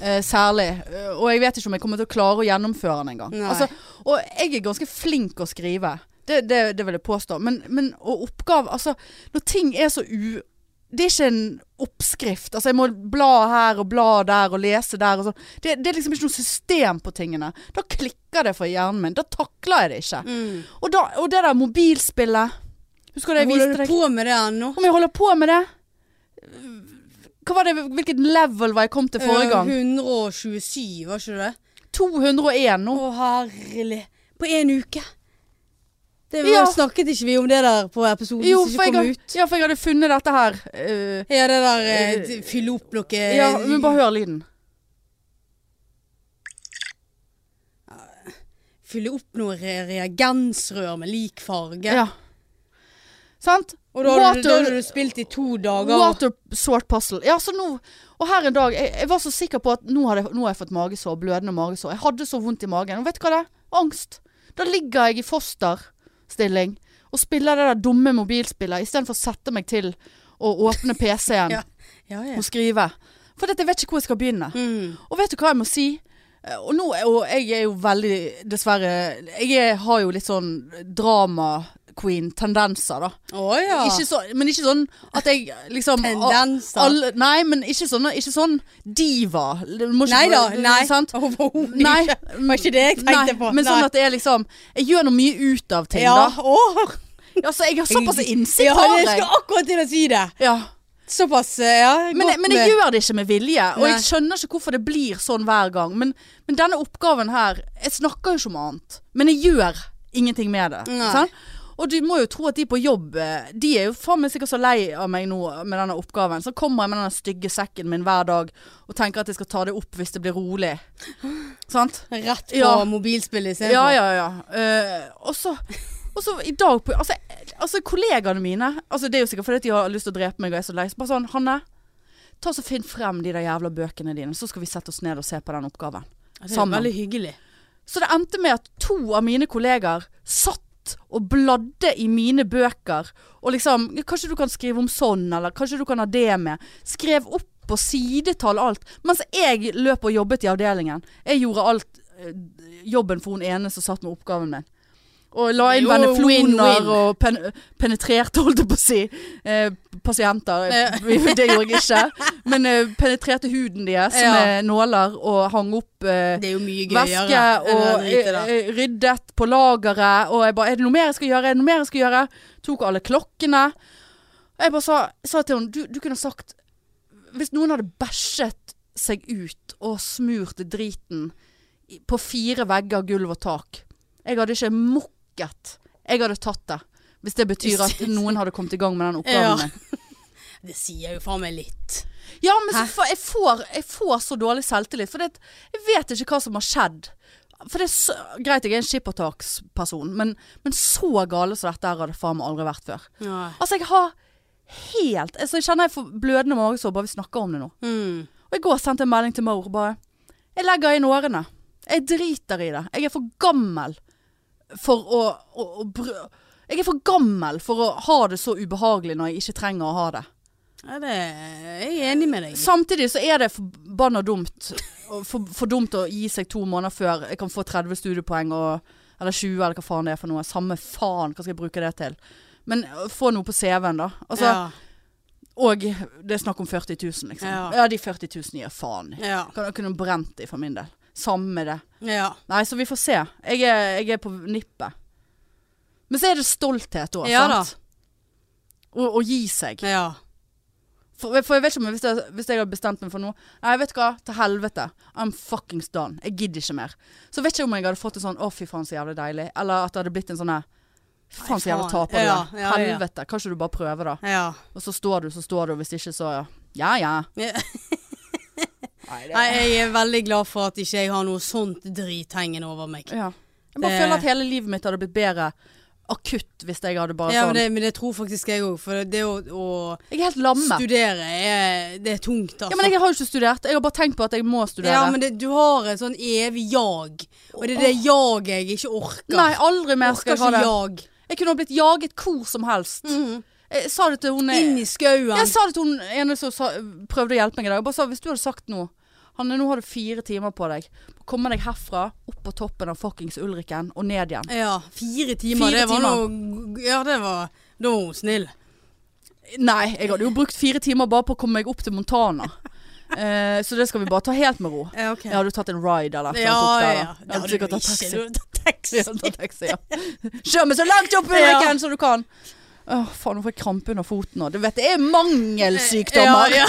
[SPEAKER 1] eh, særlig. Eh, Og jeg vet ikke om jeg kommer til å klare å gjennomføre den engang.
[SPEAKER 2] Nei.
[SPEAKER 1] Altså, og jeg er ganske flink å skrive. Det, det, det vil jeg påstå. Men, men og oppgave Altså, når ting er så u... Det er ikke en oppskrift. Altså, jeg må bla her og bla der og lese der og sånn. Det, det er liksom ikke noe system på tingene. Da klikker det for hjernen min. Da takler jeg det ikke.
[SPEAKER 2] Mm.
[SPEAKER 1] Og, da, og det der mobilspillet Husker du jeg viste
[SPEAKER 2] Holder du
[SPEAKER 1] deg?
[SPEAKER 2] på med det ennå?
[SPEAKER 1] Om jeg holder på med det? Hva var det, hvilket level var jeg kom til forrige gang?
[SPEAKER 2] Eh, 127, var ikke det?
[SPEAKER 1] 201
[SPEAKER 2] Å,
[SPEAKER 1] nå.
[SPEAKER 2] herlig. På én uke. Det var,
[SPEAKER 1] Ja.
[SPEAKER 2] Snakket ikke vi om det der på episoden
[SPEAKER 1] Jo,
[SPEAKER 2] som
[SPEAKER 1] for
[SPEAKER 2] ikke
[SPEAKER 1] jeg,
[SPEAKER 2] kom
[SPEAKER 1] har-
[SPEAKER 2] ut?
[SPEAKER 1] ja, for jeg hadde funnet dette her. eh,
[SPEAKER 2] Ja, det der eh, fylle opp noe
[SPEAKER 1] ja, men bare hør lyden.
[SPEAKER 2] Fylle opp noe re reagensrør med lik farge.
[SPEAKER 1] Ja. Sant?
[SPEAKER 2] Og da har du, da
[SPEAKER 1] Water-
[SPEAKER 2] har du spilt i to dager.
[SPEAKER 1] Water sort puzzle. Ja, så nå Og her en dag Jeg, jeg var så sikker på at nå, hadde, nå har jeg fått magesår. Blødende magesår. Jeg hadde så vondt i magen. Og vet du hva det er? Angst. Da ligger jeg i fosterstilling og spiller det der dumme mobilspillet istedenfor å sette meg til å åpne PC-en
[SPEAKER 2] [laughs] Ja. Ja, ja.
[SPEAKER 1] og skrive. For dette, jeg vet ikke hvor jeg skal begynne.
[SPEAKER 2] Mm.
[SPEAKER 1] Og vet du hva jeg må si? Eh, Og, nå, er- og jeg er jo veldig, dessverre Jeg er, har jo litt sånn drama-queen-tendenser, da.
[SPEAKER 2] Å ja.
[SPEAKER 1] Ikke så, men ikke sånn at jeg liksom
[SPEAKER 2] [laughs] Tendenser.
[SPEAKER 1] alle- nei, men ikke sånn, ikke sånn diva. Du må ikke-
[SPEAKER 2] Nei da. Nei.
[SPEAKER 1] Sant?
[SPEAKER 2] [laughs] Overhovedet
[SPEAKER 1] Nei. mm,
[SPEAKER 2] ikke. Var ikke det jeg tenkte
[SPEAKER 1] Nei,
[SPEAKER 2] på.
[SPEAKER 1] men sånn at det er liksom Jeg gjør noe mye ut av ting,
[SPEAKER 2] ja.
[SPEAKER 1] da.
[SPEAKER 2] Å.
[SPEAKER 1] Altså, jeg har såpass innsikt,
[SPEAKER 2] ja,
[SPEAKER 1] har
[SPEAKER 2] jeg.
[SPEAKER 1] jeg.
[SPEAKER 2] skulle akkurat til å si det.
[SPEAKER 1] Ja.
[SPEAKER 2] Såpass, eh, ja.
[SPEAKER 1] Men,
[SPEAKER 2] godt
[SPEAKER 1] men jeg
[SPEAKER 2] med-
[SPEAKER 1] gjør det ikke med vilje, og
[SPEAKER 2] Nei.
[SPEAKER 1] jeg skjønner ikke hvorfor det blir sånn hver gang. Men, men denne oppgaven her Jeg snakker jo ikke om annet, men jeg gjør ingenting med det.
[SPEAKER 2] Nei.
[SPEAKER 1] sant? Og du må jo tro at de på jobb eh, De er jo faen meg sikkert så lei av meg nå med denne oppgaven. Så kommer jeg med denne stygge sekken min hver dag og tenker at jeg skal ta det opp hvis det blir rolig. Sant?
[SPEAKER 2] Rett på
[SPEAKER 1] Ja.
[SPEAKER 2] mobilspillet istedenfor.
[SPEAKER 1] Ja, ja, ja. Eh, og så og så i dag på altså, altså, kollegaene mine altså, Det er jo sikkert fordi at de har lyst til å drepe meg og jeg er så lei. Så bare sånn Hanne, ta så finn frem de der jævla bøkene dine, så skal vi sette oss ned og se på den oppgaven.
[SPEAKER 2] Det er
[SPEAKER 1] Sammen.
[SPEAKER 2] veldig hyggelig.
[SPEAKER 1] Så det endte med at to av mine kollegaer satt og bladde i mine bøker og liksom «Ja, Kanskje du kan skrive om sånn, eller kanskje du kan ha det med. Skrev opp på sidetall alt. Mens jeg løp og jobbet i avdelingen. Jeg gjorde alt eh, jobben for hun ene som satt med oppgaven min. Og la inn
[SPEAKER 2] Jo, win-win.
[SPEAKER 1] venefloner og pen penetrerte, holdt jeg på å si, eh, pasienter. [laughs] Det gjorde jeg
[SPEAKER 2] [laughs]
[SPEAKER 1] ikke. Men eh, penetrerte huden deres
[SPEAKER 2] Ja.
[SPEAKER 1] med nåler og hang opp eh,
[SPEAKER 2] Det er jo mye gøyere.
[SPEAKER 1] væske
[SPEAKER 2] enn å
[SPEAKER 1] og
[SPEAKER 2] drite det.
[SPEAKER 1] eh, ryddet på lageret. Og jeg bare 'Er det noe mer jeg skal gjøre?' Er det noe mer jeg skal gjøre? Tok alle klokkene. Jeg bare sa, sa til henne du, du kunne sagt Hvis noen hadde bæsjet seg ut og smurt driten i- på fire vegger, gulv og tak Jeg hadde ikke mukket. Jeg hadde tatt det. Hvis det betyr at
[SPEAKER 2] [laughs]
[SPEAKER 1] noen hadde kommet i gang med den oppgaven
[SPEAKER 2] Ja.
[SPEAKER 1] min.
[SPEAKER 2] Det sier jo faen meg litt.
[SPEAKER 1] Ja, men så
[SPEAKER 2] Hæ?
[SPEAKER 1] fa- jeg, får, jeg får så dårlig selvtillit, for det, jeg vet ikke hva som har skjedd. For det er så, Greit, jeg er en skippertaksperson, men, men så gale som dette her har det faen meg aldri vært før.
[SPEAKER 2] Ja.
[SPEAKER 1] Altså, jeg har helt altså, Jeg kjenner jeg får blødende magesår bare vi snakker om det nå.
[SPEAKER 2] Mm.
[SPEAKER 1] Og i går sendte jeg en melding til Maur bare Jeg legger inn årene. Jeg driter i det. Jeg er for gammel for å, å, å brø- Jeg er for gammel for å ha det så ubehagelig når jeg ikke trenger å ha det.
[SPEAKER 2] Ja, det jeg er enig med deg. i.
[SPEAKER 1] Samtidig så er det forbanna dumt. og For, for dumt å gi seg to måneder før jeg kan få 30 studiepoeng og Eller 20, eller hva faen det er for noe. Samme faen, hva skal jeg bruke det til? Men øh, få noe på CV-en, da. Altså,
[SPEAKER 2] ja.
[SPEAKER 1] Og det er snakk om 40 000, liksom.
[SPEAKER 2] Ja.
[SPEAKER 1] Ja, de 40 000 gir faen i.
[SPEAKER 2] Ja.
[SPEAKER 1] Kan- Jeg kunne brent de for min del. Samme det.
[SPEAKER 2] ja.
[SPEAKER 1] Nei, så vi får se. Jeg er, jeg er på nippet. Men så er det stolthet òg,
[SPEAKER 2] Ja
[SPEAKER 1] sant? Å å gi seg.
[SPEAKER 2] ja.
[SPEAKER 1] For, for jeg vet ikke om hvis jeg, hvis jeg hadde bestemt meg for noe Nei, vet du hva? Til helvete. I'm fuckings done. Jeg gidder ikke mer. Så vet ikke om jeg hadde fått en sånn 'Å, fy faen, så jævlig deilig'. Eller at det hadde blitt en sånn her Fy faen, så
[SPEAKER 2] Nei,
[SPEAKER 1] jævla
[SPEAKER 2] faen.
[SPEAKER 1] taper du
[SPEAKER 2] Ja,
[SPEAKER 1] er.
[SPEAKER 2] ja, ja.
[SPEAKER 1] Helvete. Kan ikke du bare prøve, da?
[SPEAKER 2] ja.
[SPEAKER 1] Og så står du, så står du, og hvis ikke, så ja. Ja ja. Nei,
[SPEAKER 2] Nei, jeg er veldig glad for at ikke jeg har noe sånt drit hengende over meg.
[SPEAKER 1] ja. Jeg bare
[SPEAKER 2] Det-
[SPEAKER 1] føler at hele livet mitt hadde blitt bedre akutt hvis jeg hadde bare
[SPEAKER 2] Ja,
[SPEAKER 1] sånn
[SPEAKER 2] men det, men det tror faktisk jeg òg, for det å, å
[SPEAKER 1] Jeg er helt lamme.
[SPEAKER 2] studere er, det er tungt, altså.
[SPEAKER 1] Ja, men jeg har jo ikke studert. Jeg har bare tenkt på at jeg må studere.
[SPEAKER 2] Ja, men det, du har et sånn evig jag, og det er det jaget jeg ikke orker.
[SPEAKER 1] Nei, aldri mer
[SPEAKER 2] jeg
[SPEAKER 1] skal jeg
[SPEAKER 2] orker
[SPEAKER 1] ha
[SPEAKER 2] ikke
[SPEAKER 1] det. Mm.
[SPEAKER 2] jag.
[SPEAKER 1] Jeg kunne ha blitt jaget hvor som helst. Jeg sa det til hun
[SPEAKER 2] Inn i skauen.
[SPEAKER 1] Jeg sa det til hun ene som sa, prøvde å hjelpe meg i dag. Jeg bare sa hvis du hadde sagt noe Hanne, nå har du fire timer på deg. Kommer deg herfra, opp på toppen av fuckings Ulriken og ned igjen.
[SPEAKER 2] Ja, fire timer.
[SPEAKER 1] Fire
[SPEAKER 2] det var noe Ja, det var Da var hun snill.
[SPEAKER 1] Nei, jeg hadde jo brukt fire timer bare på å komme meg opp til
[SPEAKER 2] [laughs]
[SPEAKER 1] Montana. Eh, så det skal vi bare ta helt med ro.
[SPEAKER 2] Ja, ok.
[SPEAKER 1] Jeg hadde jo tatt en ride eller
[SPEAKER 2] ja,
[SPEAKER 1] et eller annet opp der, da.
[SPEAKER 2] ja.
[SPEAKER 1] Jeg hadde sikkert tatt taxi. [laughs] Jeg
[SPEAKER 2] Du tatt taxi.
[SPEAKER 1] hadde tatt taxi, ja. Kjør meg så langt opp Ulriken
[SPEAKER 2] Ja.
[SPEAKER 1] som du kan. Åh, faen, nå får jeg krampe under foten nå. Du vet, det er mangelsykdommer.
[SPEAKER 2] Ja, ja.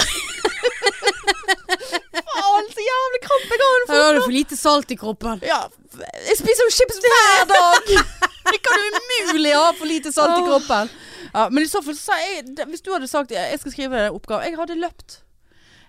[SPEAKER 1] Faen, så jævlig krampe jeg har under
[SPEAKER 2] Her har du for lite salt i kroppen.
[SPEAKER 1] Ja, jeg spiser jo chips hver dag! [laughs] Det kan jo umulig ha for lite salt i kroppen. Ja, men i så fall så sa jeg Hvis du hadde sagt jeg skal skrive en oppgave Jeg hadde løpt.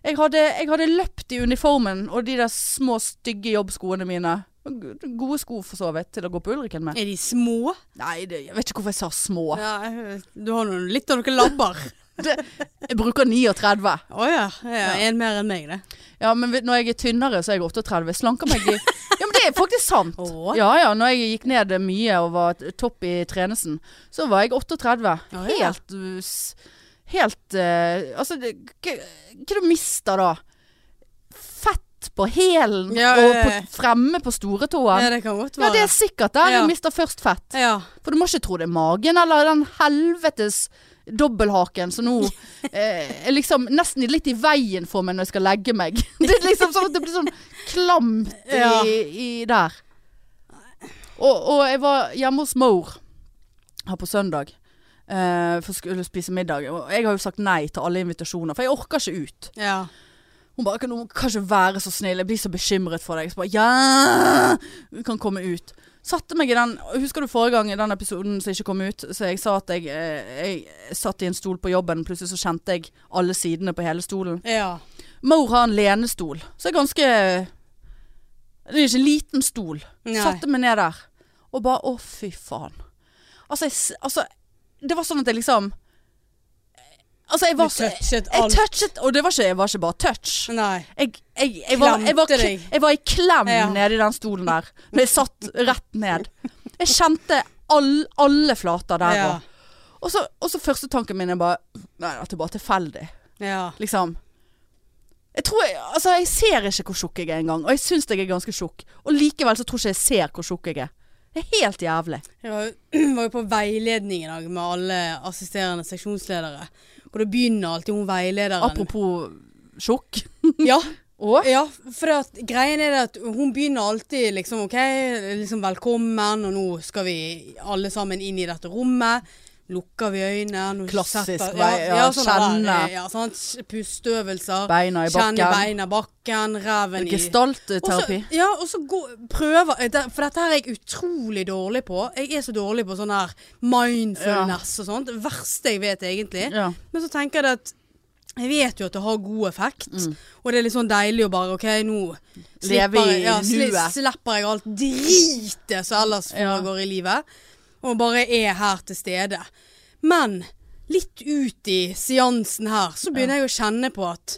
[SPEAKER 1] Jeg hadde, jeg hadde løpt i uniformen og de der små, stygge jobbskoene mine. Gode sko for så vidt til å gå på Ulriken med.
[SPEAKER 2] Er de små?
[SPEAKER 1] Nei, det, jeg vet ikke hvorfor jeg sa små.
[SPEAKER 2] Ja, du har noen, litt av noen [laughs] labber.
[SPEAKER 1] Jeg bruker 39.
[SPEAKER 2] Å ja. ja. En mer enn meg, det.
[SPEAKER 1] Ja, men vi- når jeg er tynnere, så er jeg 38. Jeg slanker meg i Ja, men det er faktisk
[SPEAKER 2] [laughs]
[SPEAKER 1] sant.
[SPEAKER 2] Åh.
[SPEAKER 1] Ja ja, når jeg gikk ned mye og var t- topp i trenesen, så var jeg 38.
[SPEAKER 2] Åh, ja.
[SPEAKER 1] Helt uh, s- Helt eh, Altså, det- hva hva du mister da? Fett på hælen
[SPEAKER 2] Ja,
[SPEAKER 1] og
[SPEAKER 2] ja, ja.
[SPEAKER 1] på, fremme på
[SPEAKER 2] Ja,
[SPEAKER 1] storetåen.
[SPEAKER 2] det kan godt
[SPEAKER 1] Ja,
[SPEAKER 2] være.
[SPEAKER 1] det er sikkert der
[SPEAKER 2] Ja.
[SPEAKER 1] jeg mister først fett.
[SPEAKER 2] Ja.
[SPEAKER 1] For du må ikke tro det er magen eller den helvetes dobbelthaken som nå eh, er liksom nesten litt i veien for meg når jeg skal legge meg. [laughs] Det er liksom sånn at det blir sånn klamt i,
[SPEAKER 2] Ja.
[SPEAKER 1] i der. Og, og jeg var hjemme hos mor her på søndag. eh, for å skulle spise middag. Og jeg har jo sagt nei til alle invitasjoner, for jeg orker ikke ut.
[SPEAKER 2] ja.
[SPEAKER 1] Hun bare kan, hun kan ikke være så snill, jeg blir så bekymret for deg. Så bare ja, hun kan komme ut. Satte meg i den, Husker du forrige gang i den episoden som ikke kom ut, så jeg sa at jeg, eh, jeg satt i en stol på jobben, plutselig så kjente jeg alle sidene på hele stolen.
[SPEAKER 2] Ja.
[SPEAKER 1] Mor har en lenestol, så jeg er ganske Det er ikke en liten stol.
[SPEAKER 2] Nei.
[SPEAKER 1] Satte meg ned der og bare Å, fy faen. Altså, jeg, s- altså Det var sånn at jeg liksom Altså, jeg
[SPEAKER 2] Du
[SPEAKER 1] var så
[SPEAKER 2] touchet
[SPEAKER 1] Jeg
[SPEAKER 2] alt.
[SPEAKER 1] touchet Og det var ikke, jeg var ikke bare touch.
[SPEAKER 2] Nei.
[SPEAKER 1] Jeg, jeg, jeg, var, jeg, var,
[SPEAKER 2] Klemte
[SPEAKER 1] kl-
[SPEAKER 2] deg.
[SPEAKER 1] jeg var i klem
[SPEAKER 2] Ja.
[SPEAKER 1] nede i den stolen der. Men jeg satt rett ned. Jeg kjente all, alle flater der.
[SPEAKER 2] Ja.
[SPEAKER 1] og- Og, så, og så første tanken min er bare Nei, at det bare er tilfeldig.
[SPEAKER 2] Ja.
[SPEAKER 1] Liksom. Jeg tror jeg, altså, jeg ser ikke hvor tjukk jeg er engang. Og jeg syns jeg er ganske tjukk. Og likevel så tror ikke jeg ser hvor tjukk jeg er. Det er helt jævlig.
[SPEAKER 2] Jeg var, jo- [clears throat] var jo på veiledning i dag med alle assisterende seksjonsledere. Og da begynner alltid hun veilederen.
[SPEAKER 1] Apropos tjukk.
[SPEAKER 2] Ja,
[SPEAKER 1] Og
[SPEAKER 2] ja for det at, greien er det at hun begynner alltid liksom OK, liksom velkommen, og nå skal vi alle sammen inn i dette rommet. Lukker vi øynene. nå
[SPEAKER 1] Klassisk
[SPEAKER 2] setter-
[SPEAKER 1] vei- ja,
[SPEAKER 2] sånne der,
[SPEAKER 1] kjenne.
[SPEAKER 2] Ja, sant. Pusteøvelser.
[SPEAKER 1] beina i
[SPEAKER 2] Kjenne
[SPEAKER 1] bakken.
[SPEAKER 2] beina i bakken, ræven i
[SPEAKER 1] Gestaltterapi.
[SPEAKER 2] Og så- Ja, og så gå, prøver eh, det- For dette her er jeg utrolig dårlig på. Jeg er så dårlig på sånn her mindfulness og sånt. Det verste jeg vet, egentlig.
[SPEAKER 1] Ja.
[SPEAKER 2] Men så tenker jeg det at jeg vet jo at det har god effekt, og det er litt sånn deilig å bare OK, nå
[SPEAKER 1] Leve Mm. i
[SPEAKER 2] jeg- ja, sli-
[SPEAKER 1] nuet.
[SPEAKER 2] slipper jeg alt dritet som ellers
[SPEAKER 1] Ja.
[SPEAKER 2] foregår i livet, og bare er her til stede. Men litt ut i seansen her, så begynner jeg å kjenne på at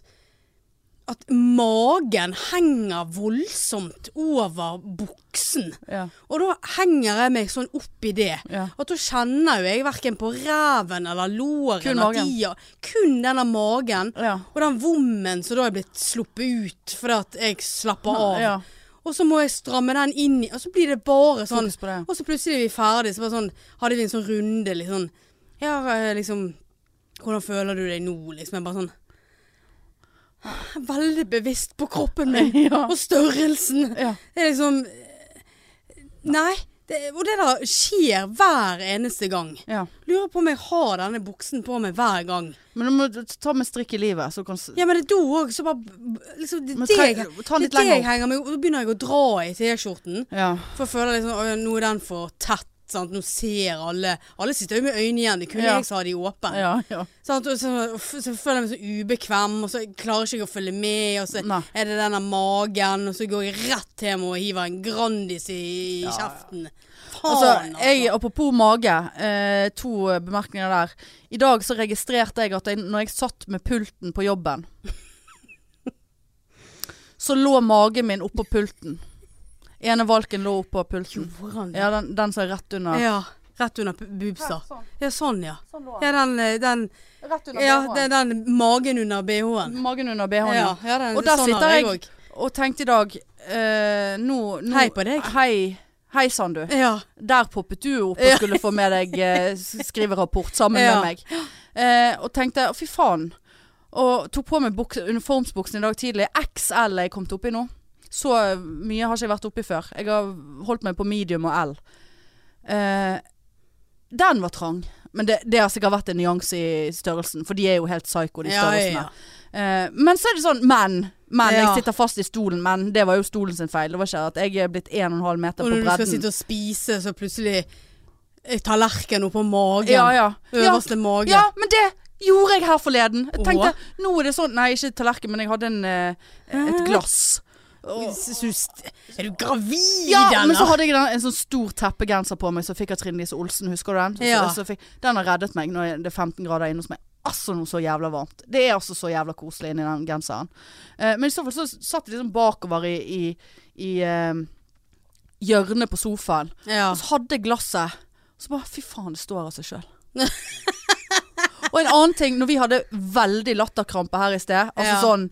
[SPEAKER 2] at magen henger voldsomt over buksen.
[SPEAKER 1] Ja.
[SPEAKER 2] Og da henger jeg meg sånn opp i det.
[SPEAKER 1] Ja.
[SPEAKER 2] At da kjenner jo jeg verken på ræven eller låren.
[SPEAKER 1] Kun
[SPEAKER 2] at
[SPEAKER 1] magen.
[SPEAKER 2] de har- Kun denne magen.
[SPEAKER 1] Ja.
[SPEAKER 2] Og den vommen som da er blitt sluppet ut fordi at jeg slapper av.
[SPEAKER 1] ja.
[SPEAKER 2] Og så må jeg stramme den inn, i- og så blir det bare sånn.
[SPEAKER 1] Fokus på det.
[SPEAKER 2] Og så plutselig er vi ferdig, så bare sånn, hadde vi en sånn runde, litt sånn, ja, eh, liksom, hvordan føler du deg nå, liksom, jeg bare sånn, jeg er veldig bevisst på kroppen min,
[SPEAKER 1] [laughs] Ja.
[SPEAKER 2] og størrelsen.
[SPEAKER 1] Ja.
[SPEAKER 2] Det er liksom, eh, nei, det, og det der skjer hver eneste gang.
[SPEAKER 1] ja.
[SPEAKER 2] Lurer på om jeg har denne buksen på meg hver gang.
[SPEAKER 1] Men du må ta med strikk i livet, så kan s-
[SPEAKER 2] Ja, men det er da òg, så bare liksom, Det
[SPEAKER 1] Men
[SPEAKER 2] er
[SPEAKER 1] tre-
[SPEAKER 2] det jeg-
[SPEAKER 1] ta den
[SPEAKER 2] det
[SPEAKER 1] litt
[SPEAKER 2] er det jeg
[SPEAKER 1] lenger opp.
[SPEAKER 2] henger meg opp. Da begynner jeg å dra i T-skjorten.
[SPEAKER 1] Ja.
[SPEAKER 2] For jeg føler liksom, «Åja, nå er den for tett, sant? nå ser alle, alle sitter jo med øynene igjen, det kunne
[SPEAKER 1] Ja.
[SPEAKER 2] jeg sa de åpne.
[SPEAKER 1] Ja, ja.
[SPEAKER 2] Sant? Og Så, uff, så føler jeg meg så ubekvem, og så klarer ikke jeg å følge med, og så
[SPEAKER 1] Nei.
[SPEAKER 2] er det denne magen, og så går jeg rett hjem og hiver en Grandis i kjeften. Faen,
[SPEAKER 1] Altså,
[SPEAKER 2] altså.
[SPEAKER 1] jeg, apropos mage, eh, to eh, bemerkninger der. I dag så registrerte jeg at jeg, når jeg satt med pulten på jobben, så lå magen min oppå pulten. Ene valken lå oppå pulten.
[SPEAKER 2] Gjorde han det?
[SPEAKER 1] Ja, den, den som er rett
[SPEAKER 2] Ja.
[SPEAKER 1] under.
[SPEAKER 2] rett under pu- bubsa.
[SPEAKER 1] sånn.
[SPEAKER 2] Ja, sånn ja.
[SPEAKER 1] Sånn lå
[SPEAKER 2] Ja, den, eh, den,
[SPEAKER 1] Rett under
[SPEAKER 2] ja, den, den magen under BH-en.
[SPEAKER 1] Magen under BH-en.
[SPEAKER 2] Ja,
[SPEAKER 1] Ja.
[SPEAKER 2] ja, den,
[SPEAKER 1] Og der
[SPEAKER 2] sånn
[SPEAKER 1] sitter
[SPEAKER 2] har
[SPEAKER 1] jeg.
[SPEAKER 2] også.
[SPEAKER 1] Og tenkte i dag eh, nå, nå
[SPEAKER 2] Hei på deg.
[SPEAKER 1] Hei, hei sann du.
[SPEAKER 2] Ja,
[SPEAKER 1] Der poppet du opp og
[SPEAKER 2] Ja.
[SPEAKER 1] skulle få med deg eh, s- skriverapport sammen med
[SPEAKER 2] Ja.
[SPEAKER 1] meg. Eh, og tenkte å, fy faen. Og tok på meg buks, uniformsbuksen i dag tidlig. XL er jeg kommet oppi nå. Så mye har ikke jeg vært oppi før. Jeg har holdt meg på medium og L. Eh, den var trang. Men det, det har sikkert vært en nyanse i størrelsen, for de er jo helt psyko, de
[SPEAKER 2] Ja, ja,
[SPEAKER 1] størrelsene. Eh, men så er det sånn, men, men
[SPEAKER 2] Ja.
[SPEAKER 1] jeg sitter fast i stolen, men det var jo stolen sin feil. Det var ikke at jeg er blitt 1,5 meter
[SPEAKER 2] Og
[SPEAKER 1] på
[SPEAKER 2] når du skal
[SPEAKER 1] bredden.
[SPEAKER 2] sitte og spise, så plutselig eh, er tallerkenen oppå magen.
[SPEAKER 1] Ja, ja. Ja,
[SPEAKER 2] Øverste mage.
[SPEAKER 1] ja, men det gjorde jeg her forleden. Jeg
[SPEAKER 2] Åh.
[SPEAKER 1] tenkte, nå er det sånn Nei, ikke tallerken, men jeg hadde en, eh, et glass. Og-
[SPEAKER 2] Så du st- Er du gravid,
[SPEAKER 1] Ja, men så
[SPEAKER 2] eller?
[SPEAKER 1] hadde jeg den, en sånn stor teppegenser på meg, så fikk jeg Trine Lise Olsen, husker du den? Så,
[SPEAKER 2] Ja.
[SPEAKER 1] så fikk, den har reddet meg når jeg- det er 15 grader inne hos meg. Altså noe så jævla varmt. Det er altså så jævla koselig inni den genseren. Eh, men i så fall så satt jeg liksom bakover i, i, i eh, hjørnet på sofaen.
[SPEAKER 2] Ja.
[SPEAKER 1] Og så hadde jeg glasset. Og så bare, fy faen, det står av seg selv. [laughs] og en annen ting, når vi hadde veldig latterkrampe her i sted, altså
[SPEAKER 2] Ja.
[SPEAKER 1] sånn,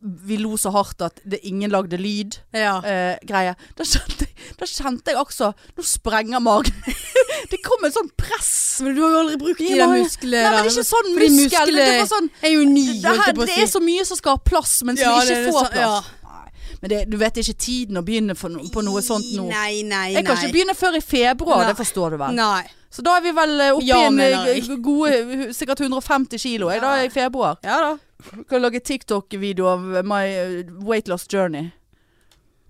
[SPEAKER 1] vi lo så hardt at det, ingen lagde lyd
[SPEAKER 2] ja.
[SPEAKER 1] eh, greie. Da kjente, jeg- da kjente jeg også Nå sprenger magen. [laughs] det kom en sånn press.
[SPEAKER 2] Men du har jo aldri brukt de
[SPEAKER 1] Ja,
[SPEAKER 2] der
[SPEAKER 1] men-
[SPEAKER 2] musklene.
[SPEAKER 1] Nei, men
[SPEAKER 2] der.
[SPEAKER 1] ikke sånn
[SPEAKER 2] Fordi
[SPEAKER 1] muskel. men Det, var
[SPEAKER 2] muskler-
[SPEAKER 1] sånn,
[SPEAKER 2] Jeg er jo ny,
[SPEAKER 1] det,
[SPEAKER 2] holdt jeg
[SPEAKER 1] her,
[SPEAKER 2] på å
[SPEAKER 1] det
[SPEAKER 2] si.
[SPEAKER 1] er så mye som skal ha plass, men som
[SPEAKER 2] Ja, det er
[SPEAKER 1] ikke
[SPEAKER 2] det
[SPEAKER 1] får
[SPEAKER 2] sa- ja.
[SPEAKER 1] plass. Nei. Men det, du vet det er ikke tiden å begynne for no, på noe sånt nå.
[SPEAKER 2] Nei, nei,
[SPEAKER 1] Jeg kan
[SPEAKER 2] nei.
[SPEAKER 1] ikke begynne før i februar,
[SPEAKER 2] Nei.
[SPEAKER 1] det forstår du vel.
[SPEAKER 2] Nei.
[SPEAKER 1] Så da er vi vel eh, oppe
[SPEAKER 2] Ja,
[SPEAKER 1] i en
[SPEAKER 2] mener
[SPEAKER 1] eh,
[SPEAKER 2] jeg.
[SPEAKER 1] g- gode sikkert 150 kilo jeg, da, i februar.
[SPEAKER 2] Ja da.
[SPEAKER 1] Skal lage TikTok-video av my eh, weight loss journey.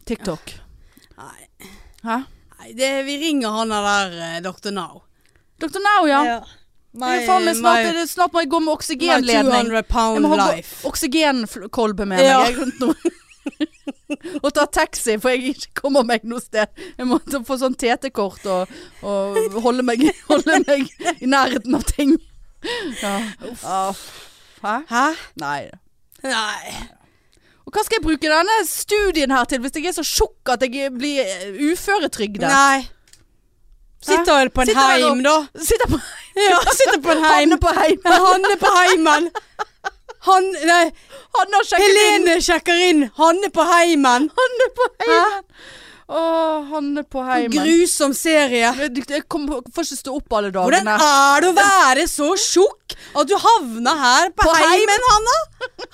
[SPEAKER 1] TikTok.
[SPEAKER 2] Nei.
[SPEAKER 1] Hæ?
[SPEAKER 2] Nei, det, vi ringer han der eh, Dr. Now.
[SPEAKER 1] Dr. Now, ja. Det er jo faen meg snart, er det, snart må jeg gå med oksygenledning.
[SPEAKER 2] 200
[SPEAKER 1] Jeg
[SPEAKER 2] pound
[SPEAKER 1] må ha
[SPEAKER 2] life.
[SPEAKER 1] gå- oksygenkolbe med meg
[SPEAKER 2] Ja.
[SPEAKER 1] jeg, rundt nå. [laughs] og ta taxi, for jeg ikke kommer meg noe sted. Jeg må ta- få sånn TT-kort og, og holde, meg, [laughs] holde meg i nærheten av ting. Ja. Ja. Hæ?
[SPEAKER 2] Hæ?
[SPEAKER 1] Nei.
[SPEAKER 2] Nei.
[SPEAKER 1] Og hva skal jeg bruke denne studien her til hvis jeg er så tjukk at jeg blir eh, uføretrygdet?
[SPEAKER 2] Nei. Sitter vel på en
[SPEAKER 1] Sitter her og-
[SPEAKER 2] heim, da.
[SPEAKER 1] Sitter på,
[SPEAKER 2] Ja, sitter på en heim.
[SPEAKER 1] Hanne på heimen.
[SPEAKER 2] Men Hanne på heimen. Han, nei,
[SPEAKER 1] Hanne har sjekket inn.
[SPEAKER 2] Helene sjekker inn. Hanne på heimen.
[SPEAKER 1] Hanne på heimen. Å, Hanne på heimen.
[SPEAKER 2] Grusom serie.
[SPEAKER 1] Jeg du- jeg kom, får ikke stå opp alle
[SPEAKER 2] Hvordan
[SPEAKER 1] dagene.
[SPEAKER 2] er det å være så tjukk at du havner her på,
[SPEAKER 1] På heim.
[SPEAKER 2] heimen, Hanna?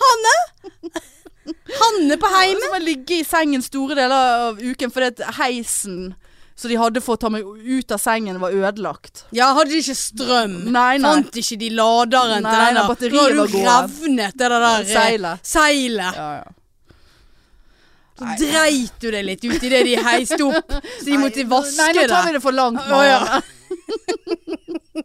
[SPEAKER 2] Hanne? Hanne på
[SPEAKER 1] Og
[SPEAKER 2] heimen?
[SPEAKER 1] Så må jeg ligge i sengen store deler av uken fordi at heisen som de hadde for å ta meg ut av sengen, var ødelagt.
[SPEAKER 2] Ja, hadde de ikke strøm?
[SPEAKER 1] Nei, nei.
[SPEAKER 2] Fant ikke de laderen
[SPEAKER 1] Nei,
[SPEAKER 2] til den?
[SPEAKER 1] nei,
[SPEAKER 2] da?
[SPEAKER 1] batteriet
[SPEAKER 2] Nå har
[SPEAKER 1] var
[SPEAKER 2] du
[SPEAKER 1] gåen.
[SPEAKER 2] revnet det der eh,
[SPEAKER 1] Seilet.
[SPEAKER 2] seilet.
[SPEAKER 1] Ja, ja.
[SPEAKER 2] Så dreit du deg litt ut i det de heiste opp, så de måtte vaske
[SPEAKER 1] Nei, nå tar vi
[SPEAKER 2] det.
[SPEAKER 1] det for langt.
[SPEAKER 2] Å, ja.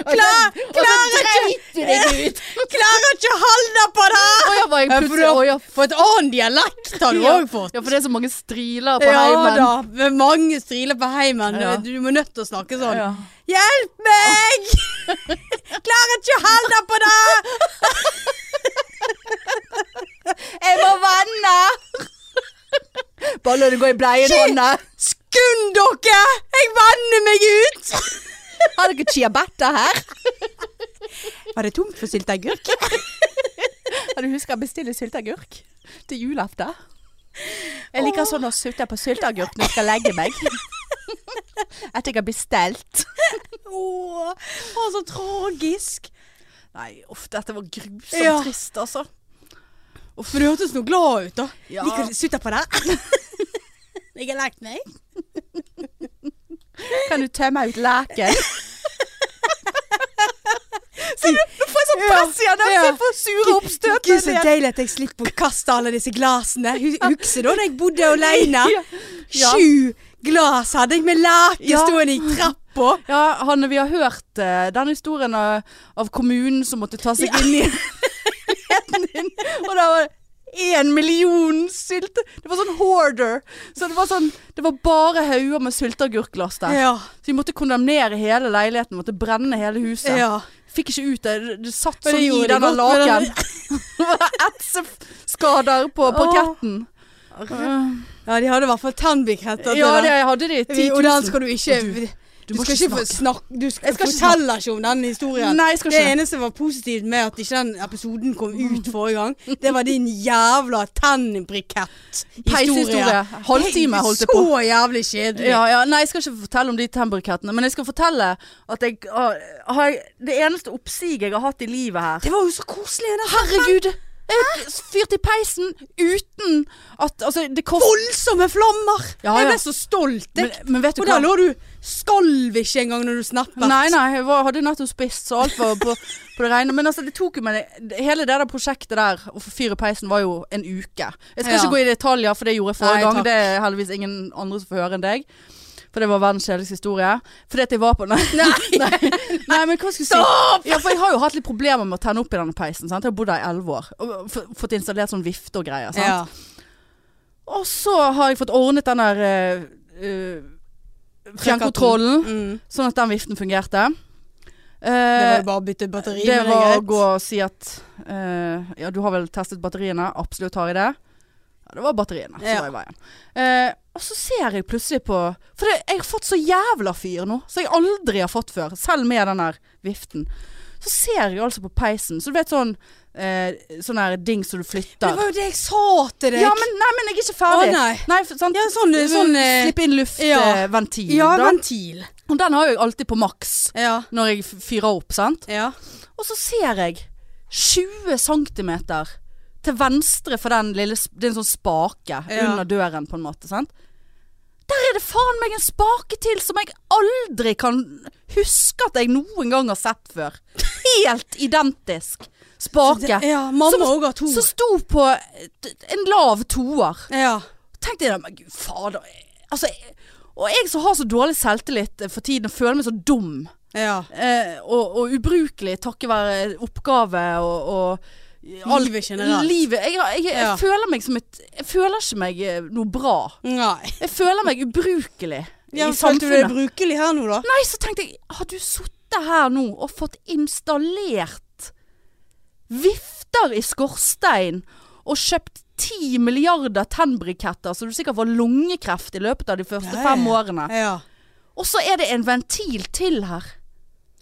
[SPEAKER 1] Marianne.
[SPEAKER 2] Klar-
[SPEAKER 1] Og så dreit du deg ut!
[SPEAKER 2] [laughs] Klarer ikke å holde på det!
[SPEAKER 1] Å ja, var jeg
[SPEAKER 2] Ja, for
[SPEAKER 1] plutselig
[SPEAKER 2] du-
[SPEAKER 1] Å ja,
[SPEAKER 2] For et annen dialekt har du
[SPEAKER 1] ja.
[SPEAKER 2] òg fått.
[SPEAKER 1] Ja, for det er så mange striler på
[SPEAKER 2] Ja
[SPEAKER 1] heimen.
[SPEAKER 2] da, med mange striler på heimen.
[SPEAKER 1] Ja.
[SPEAKER 2] Du må nødt til å snakke sånn.
[SPEAKER 1] Ja.
[SPEAKER 2] Hjelp meg! [laughs] Klarer ikke å holde på det!
[SPEAKER 1] [laughs] Jeg må vanne!
[SPEAKER 2] [laughs]
[SPEAKER 1] Bare la det gå i bleien, Hanne.
[SPEAKER 2] Skund dere! Jeg vanner meg [laughs] ut!
[SPEAKER 1] Har dere ciabatta her?
[SPEAKER 2] Var det tomt for sylteagurk?
[SPEAKER 1] Kan du huske å bestille sylteagurk til julaften? Jeg liker sånn å sutte på sylteagurk når jeg skal legge [laughs] meg. Etter jeg har bestilt.
[SPEAKER 2] Åh, å, så tragisk.
[SPEAKER 1] Nei, uff, dette var grusomt
[SPEAKER 2] Ja.
[SPEAKER 1] trist, altså.
[SPEAKER 2] Uff. Men du hørtes nå glad ut, da.
[SPEAKER 1] Ja.
[SPEAKER 2] Liker du sutter på det? [laughs] Jeg har lagt meg.
[SPEAKER 1] Kan du tømme ut [laughs] leken? Se, du, du får sånn
[SPEAKER 2] Ja,
[SPEAKER 1] press igjen. Ja,
[SPEAKER 2] ja.
[SPEAKER 1] Jeg får sure oppstøt.
[SPEAKER 2] Gud, så deilig at jeg slipper å kaste alle disse glasene. Husker du da jeg bodde [laughs] alene?
[SPEAKER 1] Ja. Ja.
[SPEAKER 2] Sju glass hadde jeg med lake
[SPEAKER 1] Ja.
[SPEAKER 2] stående i trappa.
[SPEAKER 1] Ja, Hanne, vi har hørt eh, den historien av, av kommunen som måtte ta seg inn i leiligheten din. Og det var én million sylte... Det var sånn hoarder. Så det var sånn Det var bare hauger med sylteagurkglass der.
[SPEAKER 2] Ja.
[SPEAKER 1] Så vi måtte kondemnere hele leiligheten. Måtte brenne hele huset.
[SPEAKER 2] ja.
[SPEAKER 1] Fikk ikke ut det. det- Det satt
[SPEAKER 2] Men
[SPEAKER 1] sånn
[SPEAKER 2] det
[SPEAKER 1] i
[SPEAKER 2] gjorde de
[SPEAKER 1] denne
[SPEAKER 2] godt med
[SPEAKER 1] laken. [laughs] Det var etseskader på parketten.
[SPEAKER 2] Ja, de hadde i hvert fall tannbekreftet
[SPEAKER 1] Ja, det hadde de.
[SPEAKER 2] Vi-
[SPEAKER 1] 10
[SPEAKER 2] Og den
[SPEAKER 1] 000.
[SPEAKER 2] skal du ikke
[SPEAKER 1] Og
[SPEAKER 2] Du,
[SPEAKER 1] Du må
[SPEAKER 2] skal
[SPEAKER 1] ikke
[SPEAKER 2] ikke få
[SPEAKER 1] snakke.
[SPEAKER 2] snakke Du skal,
[SPEAKER 1] Jeg skal ikke
[SPEAKER 2] forteller ikke om den historien.
[SPEAKER 1] Nei, jeg skal
[SPEAKER 2] det
[SPEAKER 1] ikke.
[SPEAKER 2] eneste var positivt med at ikke den episoden
[SPEAKER 1] [laughs]
[SPEAKER 2] kom ut forrige gang, det var din jævla tennbrikett-historie.
[SPEAKER 1] Peishistorie. Halvtime holdt jeg på.
[SPEAKER 2] Så jævlig kjedelig.
[SPEAKER 1] Ja, ja, nei, jeg skal ikke fortelle om de tennbrikettene, men jeg skal fortelle at jeg har, har jeg, Det eneste oppsiget jeg har hatt i livet her
[SPEAKER 2] Det var jo så koselig. Den
[SPEAKER 1] Herregud! Jeg fyrte i peisen uten at Altså, det kost...
[SPEAKER 2] voldsomme flammer!
[SPEAKER 1] Ja, ja.
[SPEAKER 2] Jeg ble så stolt.
[SPEAKER 1] Men,
[SPEAKER 2] Jeg.
[SPEAKER 1] men vet du
[SPEAKER 2] Og der
[SPEAKER 1] hva?
[SPEAKER 2] lå du skalv ikke engang når du snappet.
[SPEAKER 1] Nei, nei, jeg var, hadde nettopp spist, så alt var på, på det rene. Men altså, det tok jo meg Hele det der prosjektet der, å få fyr i peisen, var jo en uke. Jeg skal
[SPEAKER 2] Ja.
[SPEAKER 1] ikke gå i detaljer, for det gjorde jeg forrige
[SPEAKER 2] Nei,
[SPEAKER 1] gang.
[SPEAKER 2] takk.
[SPEAKER 1] Det er heldigvis ingen andre som får høre enn deg. For det var verdens kjedeligste historie. Fordi at jeg var på [laughs] Nei, nei, nei men hva skal jeg si? Ja, for jeg har jo hatt litt problemer med å tenne opp i denne peisen. Sant? Jeg har bodd her i elleve år. Og f- fått installert sånn vifte og greier. Sant?
[SPEAKER 2] Ja.
[SPEAKER 1] Og så har jeg fått ordnet den der eh, eh, fjernkontrollen,
[SPEAKER 2] Mm.
[SPEAKER 1] sånn at den viften fungerte. Eh,
[SPEAKER 2] Det var jo bare å bytte batteri.
[SPEAKER 1] det
[SPEAKER 2] men er
[SPEAKER 1] var å
[SPEAKER 2] greit.
[SPEAKER 1] gå og si at eh, Ja, du har vel testet batteriene? Absolutt har jeg det. Ja, det var batteriene som
[SPEAKER 2] Ja.
[SPEAKER 1] var i veien. Eh, og så ser jeg plutselig på For det, jeg har fått så jævla fyr nå, som jeg aldri har fått før. Selv med den der viften. Så ser jeg altså på peisen. Så du vet sånn eh, Sånn der ding som du
[SPEAKER 2] Det
[SPEAKER 1] flytter.
[SPEAKER 2] var jo det jeg sa til deg.
[SPEAKER 1] Ja, men, nei, men jeg er ikke
[SPEAKER 2] Å,
[SPEAKER 1] ferdig.
[SPEAKER 2] nei.
[SPEAKER 1] Nei, for- sant?
[SPEAKER 2] Ja, sånn, sånn eh,
[SPEAKER 1] Slipp inn
[SPEAKER 2] ja.
[SPEAKER 1] luftventil.
[SPEAKER 2] Ja,
[SPEAKER 1] da.
[SPEAKER 2] ventil.
[SPEAKER 1] Og den har jeg alltid på maks
[SPEAKER 2] Ja.
[SPEAKER 1] når jeg f- fyrer opp, sant.
[SPEAKER 2] ja.
[SPEAKER 1] Og så ser jeg 20 cm til venstre for den lille sp- Det er en sånn spake
[SPEAKER 2] Ja.
[SPEAKER 1] under døren, på en måte. sant? Der er det faen meg en spake til som jeg aldri kan huske at jeg noen gang har sett før. Helt identisk spake.
[SPEAKER 2] Det- ja mamma
[SPEAKER 1] Som-
[SPEAKER 2] òg har to.
[SPEAKER 1] Som sto på t- en lav toer.
[SPEAKER 2] Ja.
[SPEAKER 1] Tenkte jeg da, men gud fader altså, jeg- Og jeg som har så dårlig selvtillit eh, for tiden og føler meg så dum
[SPEAKER 2] ja.
[SPEAKER 1] eh, og, og ubrukelig takket være oppgave og, og alt-
[SPEAKER 2] Livet generelt.
[SPEAKER 1] Livet. Jeg, har- jeg, jeg,
[SPEAKER 2] Ja.
[SPEAKER 1] føler meg som et Jeg føler ikke meg eh, noe bra.
[SPEAKER 2] Nei.
[SPEAKER 1] Jeg føler meg ubrukelig
[SPEAKER 2] Ja,
[SPEAKER 1] i
[SPEAKER 2] Følte du deg
[SPEAKER 1] samfunnet.
[SPEAKER 2] brukelig her nå, da?
[SPEAKER 1] Nei, så tenkte jeg Har du sittet her nå og fått installert vifter i skorstein og kjøpt ti milliarder tennbriketter, så du sikkert får lungekreft i løpet av de første
[SPEAKER 2] Ja, ja,
[SPEAKER 1] fem
[SPEAKER 2] ja.
[SPEAKER 1] årene.
[SPEAKER 2] Ja.
[SPEAKER 1] Og så er det en ventil til her.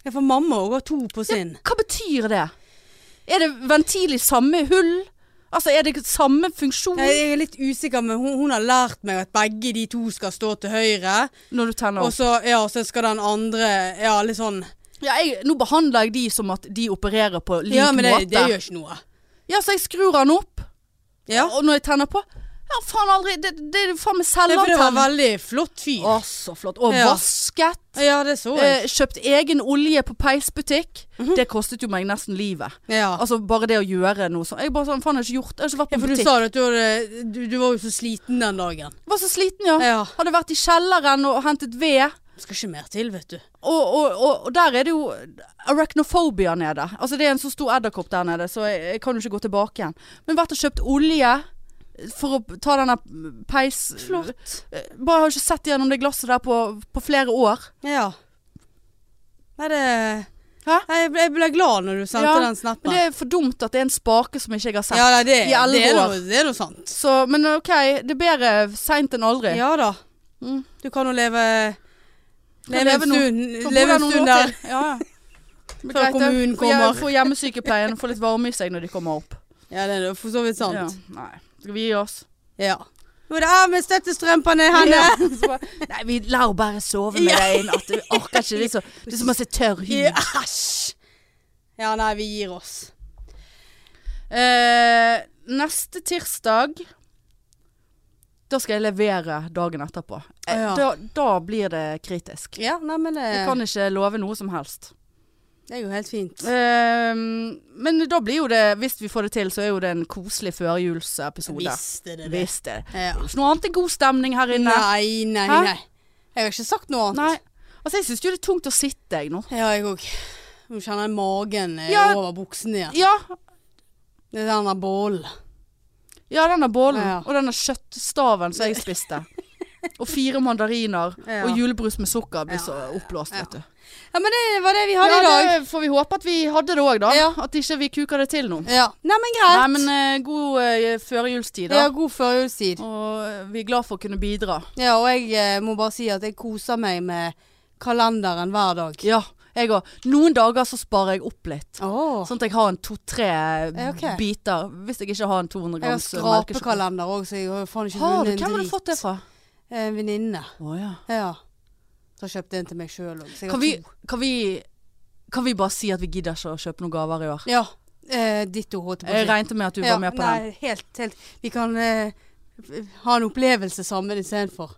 [SPEAKER 2] Ja, for mamma òg har to på sin.
[SPEAKER 1] Hva betyr det? Er det ventil i samme hull? Altså, er det samme funksjon
[SPEAKER 2] Jeg jeg er litt usikker, men hun, hun har lært meg at begge de to skal stå til høyre.
[SPEAKER 1] når du tenner
[SPEAKER 2] Og
[SPEAKER 1] opp?
[SPEAKER 2] så, ja, så skal den andre Ja, litt sånn.
[SPEAKER 1] Ja, jeg, nå behandler jeg de som at de opererer på lik
[SPEAKER 2] Ja, men det,
[SPEAKER 1] måte.
[SPEAKER 2] det gjør ikke noe.
[SPEAKER 1] Ja, så jeg skrur den opp,
[SPEAKER 2] Ja.
[SPEAKER 1] og når jeg tenner på Ja, faen aldri Det, det er jo faen meg
[SPEAKER 2] Nei, for det var
[SPEAKER 1] selvantenn.
[SPEAKER 2] veldig flott fyr.
[SPEAKER 1] Å, så flott. Og
[SPEAKER 2] Ja.
[SPEAKER 1] vasket.
[SPEAKER 2] Ja, det så jeg.
[SPEAKER 1] Eh, kjøpt egen olje på peisbutikk. Det kostet jo meg nesten livet.
[SPEAKER 2] Ja.
[SPEAKER 1] Altså, bare det å gjøre noe sånn. Jeg bare sånn, faen, jeg har ikke gjort Jeg har ikke vært på
[SPEAKER 2] Ja, for du
[SPEAKER 1] butikk.
[SPEAKER 2] sa jo at du, hadde, du, du var jo så sliten den dagen.
[SPEAKER 1] Var så sliten, ja.
[SPEAKER 2] Ja.
[SPEAKER 1] Hadde vært i kjelleren og hentet ved.
[SPEAKER 2] Skal ikke mer til, vet du.
[SPEAKER 1] Og, og, og, og der er det jo arachnophobia nede. Altså det er en så stor edderkopp der nede, så jeg, jeg kan jo ikke gå tilbake igjen. Men vært og kjøpt olje for å ta denne peis... Eh,
[SPEAKER 2] Flott.
[SPEAKER 1] Bare har ikke sett gjennom det glasset der på, på flere år.
[SPEAKER 2] Ja. Nei, det
[SPEAKER 1] Hæ?
[SPEAKER 2] Nei, jeg ble, jeg ble glad når du sendte
[SPEAKER 1] Ja,
[SPEAKER 2] den
[SPEAKER 1] Men
[SPEAKER 2] snappen.
[SPEAKER 1] det er for dumt at det er en spake som ikke jeg har sett.
[SPEAKER 2] ja, nei, det,
[SPEAKER 1] i elleve
[SPEAKER 2] det, er
[SPEAKER 1] år.
[SPEAKER 2] noe, det er noe sant.
[SPEAKER 1] Så, men OK, det er bedre seint enn aldri.
[SPEAKER 2] Ja da.
[SPEAKER 1] Mm.
[SPEAKER 2] Du kan jo leve
[SPEAKER 1] Kan
[SPEAKER 2] Leve
[SPEAKER 1] leve
[SPEAKER 2] en
[SPEAKER 1] noe-
[SPEAKER 2] stund,
[SPEAKER 1] Kan bo
[SPEAKER 2] leve en
[SPEAKER 1] noen
[SPEAKER 2] stund
[SPEAKER 1] år
[SPEAKER 2] der.
[SPEAKER 1] til. Ja,
[SPEAKER 2] [laughs]
[SPEAKER 1] ja. Men
[SPEAKER 2] Før
[SPEAKER 1] greit det.
[SPEAKER 2] kommunen
[SPEAKER 1] Få hje-
[SPEAKER 2] kommer.
[SPEAKER 1] Få hjemmesykepleien, få litt varme i seg når de kommer opp.
[SPEAKER 2] Ja, det er jo for så vidt [laughs] sant.
[SPEAKER 1] Ja, nei. Skal vi gi oss?
[SPEAKER 2] Ja. Nå er det av med støttestrømpene, Hanne!
[SPEAKER 1] Ja, så bare, Nei, vi lar bare sove med deg inn. At du orker ikke. Det
[SPEAKER 2] [laughs]
[SPEAKER 1] er, så, det er så masse tørr hud.
[SPEAKER 2] Ja, Æsj! Ja, nei, vi gir oss.
[SPEAKER 1] Eh, neste tirsdag Da skal jeg levere dagen etterpå. Eh,
[SPEAKER 2] Ja.
[SPEAKER 1] da, da blir det kritisk.
[SPEAKER 2] Ja, nei, men det,
[SPEAKER 1] Jeg kan ikke love noe som helst.
[SPEAKER 2] det er jo helt fint.
[SPEAKER 1] Eh, men da blir jo det, hvis vi får det til, så er jo det en koselig førjulsepisode.
[SPEAKER 2] Visste det det.
[SPEAKER 1] Visst er det.
[SPEAKER 2] Ja.
[SPEAKER 1] Ikke noe annet enn god stemning her inne.
[SPEAKER 2] Nei, nei,
[SPEAKER 1] Hæ?
[SPEAKER 2] nei. Jeg har ikke sagt noe annet.
[SPEAKER 1] Nei. Altså, jeg syns jo det er tungt å sitte, jeg nå.
[SPEAKER 2] Ja, jeg òg. Nå kjenner jeg magen eh,
[SPEAKER 1] Ja.
[SPEAKER 2] over buksen igjen.
[SPEAKER 1] Ja,
[SPEAKER 2] Det er den der bollen.
[SPEAKER 1] Ja, denne bollen
[SPEAKER 2] Ja.
[SPEAKER 1] og denne kjøttstaven som jeg
[SPEAKER 2] [laughs]
[SPEAKER 1] spiste. Og fire mandariner
[SPEAKER 2] Ja.
[SPEAKER 1] og julebrus med sukker blir
[SPEAKER 2] Ja,
[SPEAKER 1] så oppblåst, vet du.
[SPEAKER 2] Ja, men det var det vi hadde i dag.
[SPEAKER 1] det får vi håpe at vi hadde det òg, da.
[SPEAKER 2] Ja.
[SPEAKER 1] At ikke vi kuker det til nå.
[SPEAKER 2] Ja. Nei, men greit.
[SPEAKER 1] Nei, men eh, god eh, førjulstid,
[SPEAKER 2] ja,
[SPEAKER 1] da.
[SPEAKER 2] god førjulstid.
[SPEAKER 1] Og eh, vi er glad for å kunne bidra.
[SPEAKER 2] Ja, og jeg eh, må bare si at jeg koser meg med kalenderen hver dag.
[SPEAKER 1] Ja, jeg òg. Noen dager så sparer jeg opp litt.
[SPEAKER 2] Åh.
[SPEAKER 1] Sånn at jeg har en to-tre
[SPEAKER 2] Ja, ok.
[SPEAKER 1] biter. Hvis jeg ikke har en 200
[SPEAKER 2] Jeg har
[SPEAKER 1] grams melkesjokolade.
[SPEAKER 2] skrapekalender òg, så jeg har jo faen ikke
[SPEAKER 1] Har du?
[SPEAKER 2] vunnet
[SPEAKER 1] Hvem
[SPEAKER 2] en
[SPEAKER 1] har du
[SPEAKER 2] drit.
[SPEAKER 1] fått det fra?
[SPEAKER 2] En venninne.
[SPEAKER 1] Å ja.
[SPEAKER 2] Ja. Så kjøpte jeg en til meg sjøl òg.
[SPEAKER 1] Kan vi, kan, vi, kan vi bare si at vi gidder ikke å kjøpe noen gaver i år?
[SPEAKER 2] Ja. Eh, ditto, holdt jeg på å si.
[SPEAKER 1] Jeg regnet med at du
[SPEAKER 2] ja,
[SPEAKER 1] var med på
[SPEAKER 2] nei,
[SPEAKER 1] den.
[SPEAKER 2] Helt, helt. Vi kan eh, ha en opplevelse sammen istedenfor.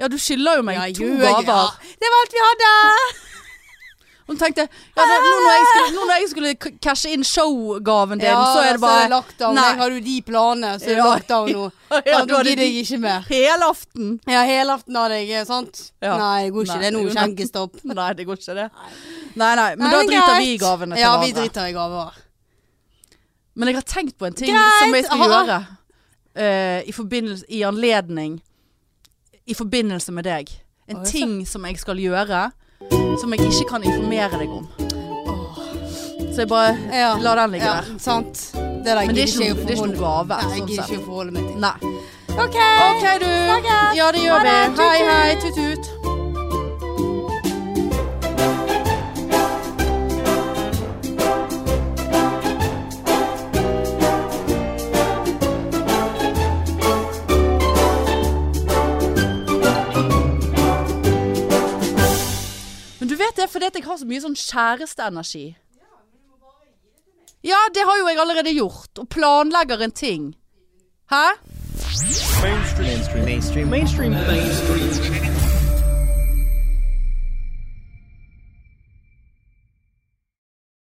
[SPEAKER 1] Ja, du skylder jo meg
[SPEAKER 2] Ja,
[SPEAKER 1] to
[SPEAKER 2] gjør jeg.
[SPEAKER 1] gaver.
[SPEAKER 2] Ja. Det var alt vi hadde!
[SPEAKER 1] Hun tenkte ja, det, nå, når jeg skulle, nå når jeg skulle k- cashe inn showgaven din, så er det bare
[SPEAKER 2] lockdown.
[SPEAKER 1] Nei.
[SPEAKER 2] Jeg har jo de planene, så er det
[SPEAKER 1] Ja.
[SPEAKER 2] lockdown nå.
[SPEAKER 1] [laughs] Ja,
[SPEAKER 2] Ja,
[SPEAKER 1] du
[SPEAKER 2] nå
[SPEAKER 1] hadde
[SPEAKER 2] gidder
[SPEAKER 1] de-
[SPEAKER 2] jeg ikke mer.
[SPEAKER 1] Helaften.
[SPEAKER 2] Ja, helaften hadde jeg, sant?
[SPEAKER 1] Ja.
[SPEAKER 2] Nei, jeg går ikke
[SPEAKER 1] eh, Nei,
[SPEAKER 2] det nå.
[SPEAKER 1] jo, nei.
[SPEAKER 2] Skjenkestopp.
[SPEAKER 1] Nei, det går ikke det. Nei, nei, men
[SPEAKER 2] Nei,
[SPEAKER 1] da driter
[SPEAKER 2] greit.
[SPEAKER 1] vi i gavene til
[SPEAKER 2] ja,
[SPEAKER 1] hverandre.
[SPEAKER 2] Ja, vi driter i gaver.
[SPEAKER 1] Men jeg har tenkt på en ting
[SPEAKER 2] Greit,
[SPEAKER 1] som jeg skal
[SPEAKER 2] aha.
[SPEAKER 1] gjøre eh, i, forbindelse- i anledning I forbindelse med deg. En
[SPEAKER 2] Oi, så.
[SPEAKER 1] ting som jeg skal gjøre som jeg ikke kan informere deg om. Så jeg bare
[SPEAKER 2] Ja.
[SPEAKER 1] la den ligge
[SPEAKER 2] Ja,
[SPEAKER 1] der.
[SPEAKER 2] sant. Det der
[SPEAKER 1] Men det er ikke, noe-
[SPEAKER 2] gidder
[SPEAKER 1] det er ikke
[SPEAKER 2] jeg å
[SPEAKER 1] noe gave.
[SPEAKER 2] forholde Nei, jeg
[SPEAKER 1] sånn
[SPEAKER 2] gidder
[SPEAKER 1] sett.
[SPEAKER 2] ikke å forholde meg til.
[SPEAKER 1] Nei.
[SPEAKER 2] OK.
[SPEAKER 1] OK, du.
[SPEAKER 2] Snakkes.
[SPEAKER 1] Ja, det gjør
[SPEAKER 2] Ha
[SPEAKER 1] vi.
[SPEAKER 2] det. Tut,
[SPEAKER 1] Hei,
[SPEAKER 2] tut.
[SPEAKER 1] hei. Tut-tut. Men du vet det, fordi at jeg har så mye sånn kjæresteenergi. Ja, det har jo jeg allerede gjort. Og planlegger en ting. Hæ?
[SPEAKER 3] mainstream mainstream mainstream mainstream mainstream